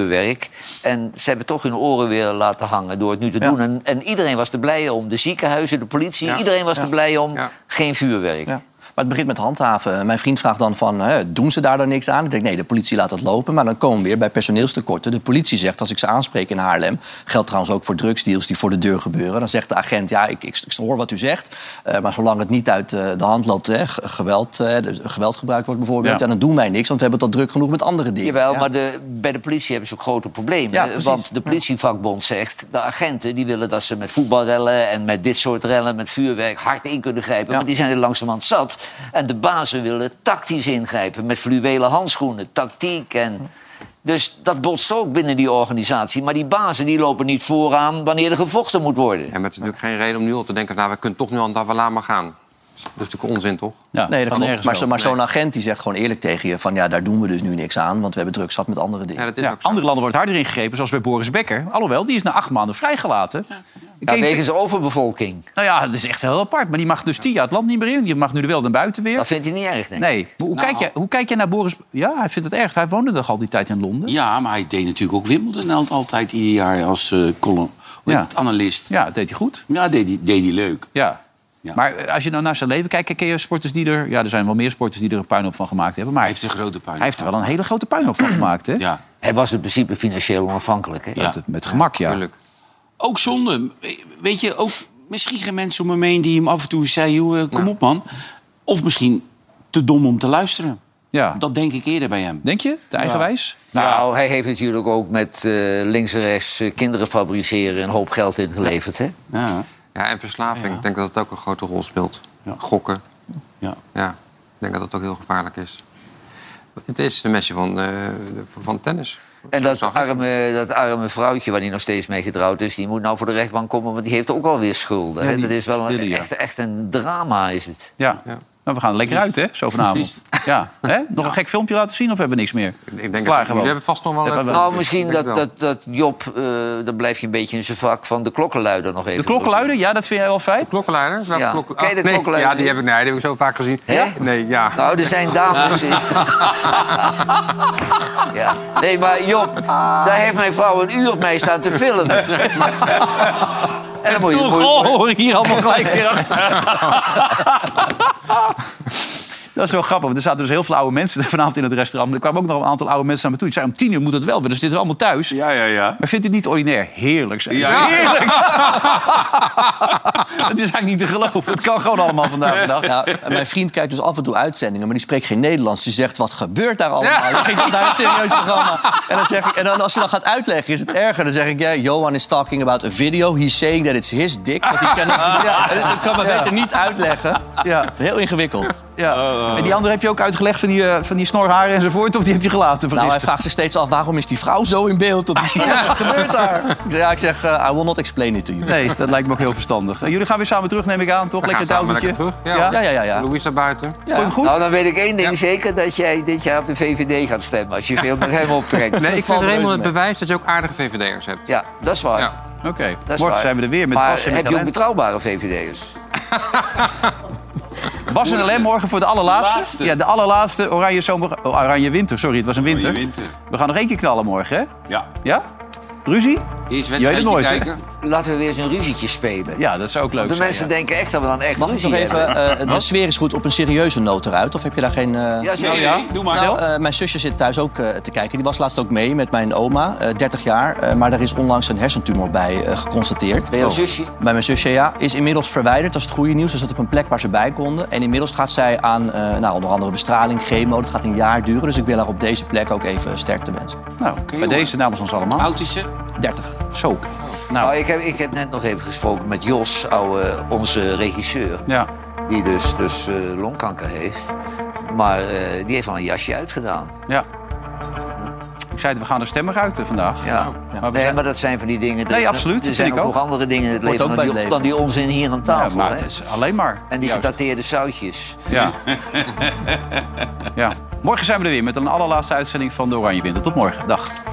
S3: En ze hebben toch hun oren weer laten hangen door het nu te doen. En, en iedereen was er blij om. De ziekenhuizen, de politie,
S5: Ja.
S3: iedereen was
S5: Ja.
S3: er blij om. Geen vuurwerk.
S5: Ja. Maar het begint met handhaven. Eh, Mijn vriend vraagt dan van, hè, doen ze daar dan niks aan? Ik denk, nee, de politie laat dat lopen. Maar dan komen we weer bij personeelstekorten. De politie zegt, als ik ze aanspreek in Haarlem... geldt trouwens ook voor drugsdeals die voor de deur gebeuren. Dan zegt de agent, ja, ik, ik, ik hoor wat u zegt... eh, maar zolang het niet uit eh, de hand loopt, hè, g- geweld, eh, de- geweld gebruikt wordt bijvoorbeeld...
S3: Ja.
S5: en dan doen wij niks, want we hebben het al druk genoeg met andere dingen.
S3: Jawel,
S5: Ja.
S3: maar de, bij de politie hebben ze ook grote problemen.
S5: Ja, precies.
S3: want de politievakbond zegt... de agenten die willen dat ze met voetbalrellen en met dit soort rellen... met vuurwerk hard in kunnen grijpen. Maar die zijn er langzamerhand zat. En de bazen willen tactisch ingrijpen. Met fluwelen handschoenen, tactiek
S5: Hm.
S3: en... Dus dat botst ook binnen die organisatie. Maar die bazen die lopen niet vooraan wanneer er gevochten moet worden.
S4: En met natuurlijk geen reden om nu al te denken... nou, we kunnen toch nu aan Davala maar gaan. Dat is natuurlijk onzin, toch?
S5: nee, dat klopt. Maar, zo, maar zo'n agent die zegt gewoon eerlijk tegen je... van ja, daar doen we dus nu niks aan... want we hebben druk zat met andere dingen.
S1: Ja, andere landen wordt harder ingegrepen, zoals bij Boris Becker. Alhoewel, die is na acht maanden vrijgelaten.
S3: Ja, wegens overbevolking.
S1: Nou ja, dat is echt heel apart. Maar die mag dus tien jaar het land niet meer in. Die mag nu er wel naar buiten weer. Dat
S3: vindt hij niet erg, nee.
S1: nee. Maar Hoe, kijk jij, hoe kijk jij naar Boris... Ja, hij vindt het erg. Hij woonde toch al die tijd in Londen?
S2: Ja, maar hij deed natuurlijk ook Wimbledon al- altijd ieder jaar als eh column, hoe heet het, analist.
S1: Ja, deed hij goed.
S2: Ja, deed hij, deed hij leuk.
S1: Ja. Maar eh, als je nou naar zijn leven kijkt, ken je sporters die er... Ja, er zijn wel meer sporters die er een puinhoop van gemaakt hebben. Maar hij heeft
S2: een grote puinhoop.
S1: Hij heeft er wel een hele grote puinhoop van gemaakt, hè?
S2: Ja.
S3: Hij was in principe financieel onafhankelijk. Hè?
S1: Met, met gemak, ja.
S2: Ook zonde. Weet je, ook misschien geen mensen om hem heen die hem af en toe zei... Joh, eh, kom op man. Of misschien te dom om te luisteren.
S1: Ja.
S2: Dat denk ik eerder bij hem.
S1: Denk je? Te eigenwijs?
S3: Nou, hij heeft natuurlijk ook met eh, links en rechts eh, kinderen fabriceren een hoop geld ingeleverd. Hè?
S2: Ja.
S4: ja, en verslaving. Ik denk dat dat ook een grote rol speelt. Gokken.
S2: Ja.
S4: ja. Ik denk dat dat ook heel gevaarlijk is. Het is de mesje van, eh, van tennis.
S3: En dat arme, dat arme vrouwtje waar hij nog steeds mee getrouwd is, die moet nou voor de rechtbank komen, want die heeft ook alweer schulden.
S1: Ja,
S3: hè?
S1: die
S3: dat is wel een,
S1: Tilly, ja.
S3: echt, echt een drama, is het.
S1: Ja. Nou, we gaan er lekker uit, hè? Zo vanavond. Ja. Hè? Nog een gek filmpje laten zien of hebben we niks meer? Ik
S4: denk dat we- we hebben vast nog wel een-
S3: Nou, misschien
S4: Ik denk
S3: dat,
S4: wel.
S3: dat, dat Job, eh dan blijf je een beetje in zijn vak van de klokkenluider nog even.
S1: De klokkenluider, ja, dat vind jij wel fijn?
S4: Klokkenluider?
S3: Ja.
S4: Klok-
S3: Ken je de
S4: Ah, nee.
S3: klokkenluider?
S4: Ja, die heb ik, nee, die heb ik zo vaak gezien.
S3: Hè?
S4: Nee, ja.
S3: Nou, er zijn datums. in. ja. Nee, maar Job, daar heeft mijn vrouw een uur mee staan te filmen. En dan moet je...
S1: Toen,
S3: moet je-
S1: goh, hoor ik hier allemaal gelijk weer Dat is wel grappig, want er zaten dus heel veel oude mensen vanavond in het restaurant. Maar er kwamen ook nog een aantal oude mensen naar me toe. Die zeiden, om tien uur moet het wel, weer, dus dit is allemaal thuis. Ja,
S15: ja, ja.
S1: Maar vindt u het niet ordinair? Heerlijk, zei ze.
S15: Ja.
S1: Heerlijk! Het is eigenlijk niet te geloven. Het kan gewoon allemaal vandaag de dag.
S5: Ja, en mijn vriend kijkt dus af en toe uitzendingen, maar die spreekt geen Nederlands. Die zegt, wat gebeurt daar allemaal? Ik denk, daar is een serieus programma. En, dan zeg ik, en dan, als je dan gaat uitleggen, is het erger. Dan zeg ik, ja, Johan is talking about a video. He's saying that it's his dick. Want die kan, ja, dat kan me
S1: Ja.
S5: beter niet uitleggen.
S1: Ja.
S5: Heel ingewikkeld.
S1: Ja. En die andere heb je ook uitgelegd van die, eh, van die snorharen enzovoort? Of die heb je gelaten?
S5: Nou, hij vraagt zich steeds af, waarom is die vrouw zo in beeld op die straat? Wat gebeurt daar? Ik zeg, Ja, ik zeg, eh, I will not explain it to you.
S1: Nee, dat lijkt me ook heel verstandig. En jullie gaan weer samen terug, neem ik aan, toch?
S5: We
S1: Lekker het
S5: gaan samen
S1: autootje.
S5: lekker terug,
S1: ja?
S5: ja. Ja, ja, ja, ja.
S4: Louis naar buiten.
S1: Vond je hem goed?
S3: Nou, dan weet ik één ding zeker, dat jij dit jaar op de VVD gaat stemmen. Als je veel met hem optrekt.
S4: Nee, ik vind
S3: er
S4: helemaal
S3: helemaal
S4: het bewijs dat je ook aardige VVD'ers hebt.
S3: Ja, dat is waar.
S1: Oké,
S3: Dat is
S1: morgen
S3: waar.
S1: zijn we er weer met
S3: maar
S1: Bas en
S3: heb je ook
S1: Lem.
S3: betrouwbare VVD'ers?
S1: Bas en Lem morgen voor de allerlaatste.
S3: Laatste.
S1: Ja, de allerlaatste Oranje, zomer, oh, oranje Winter. Sorry, het was een winter.
S15: Oranje Winter.
S1: We gaan nog één keer knallen morgen, hè?
S15: Ja.
S1: Ja? Ruzie?
S2: Eerst
S3: Je weet het
S2: wedstrijdje
S3: nooit, hè?
S2: kijken.
S3: Laten we weer eens een ruzietje spelen.
S1: Ja, dat zou ook
S3: Want de mensen denken echt dat we dan echt
S5: Mag ik
S3: ruzie
S5: nog even,
S3: hebben.
S5: eh, de sfeer is goed op een serieuze noot eruit? Of heb je daar geen... eh,
S3: Ja, zeker. Nee, nee, doe maar.
S5: Nou, eh, mijn zusje zit thuis ook eh, te kijken. Die was laatst ook mee met mijn oma, eh, 30 jaar. eh, maar daar is onlangs een hersentumor bij eh, geconstateerd.
S3: Bij jouw zusje?
S5: Bij mijn zusje, ja. Is inmiddels verwijderd, dat is het goede nieuws. Ze zat op een plek waar ze bij konden. En inmiddels gaat zij aan eh, nou, onder andere bestraling, chemo. Dat gaat een jaar duren. Dus ik wil haar op deze plek ook even sterkte wensen.
S1: Nou, bij deze namens ons allemaal.
S2: Oud is ze?
S5: 30.
S1: Zo.
S3: Nou, ik, heb, ik heb net nog even gesproken met Jos, ouwe, onze regisseur.
S1: Ja.
S3: Die dus, dus eh, longkanker heeft. Maar eh, die heeft al een jasje uitgedaan.
S1: Ja. Ik zei het, we gaan er stemmig uit eh, vandaag.
S3: Ja.
S1: we
S3: nee,
S1: zijn-
S3: maar dat zijn van die dingen. er
S1: Nee,
S3: is-
S1: absoluut,
S3: Er
S1: dat
S3: zijn
S1: vind ik
S3: ook nog
S1: ook.
S3: andere dingen in het
S1: Hoort
S3: leven
S1: ook
S3: dan
S1: bij
S3: die,
S1: het
S3: dan die onzin hier aan tafel.
S1: Ja, maar
S3: hè?
S1: het is alleen maar.
S3: En die
S1: juist.
S3: gedateerde zoutjes.
S1: Ja. ja. Morgen zijn we er weer met een allerlaatste uitzending van de Oranje Winter. Tot morgen. Dag.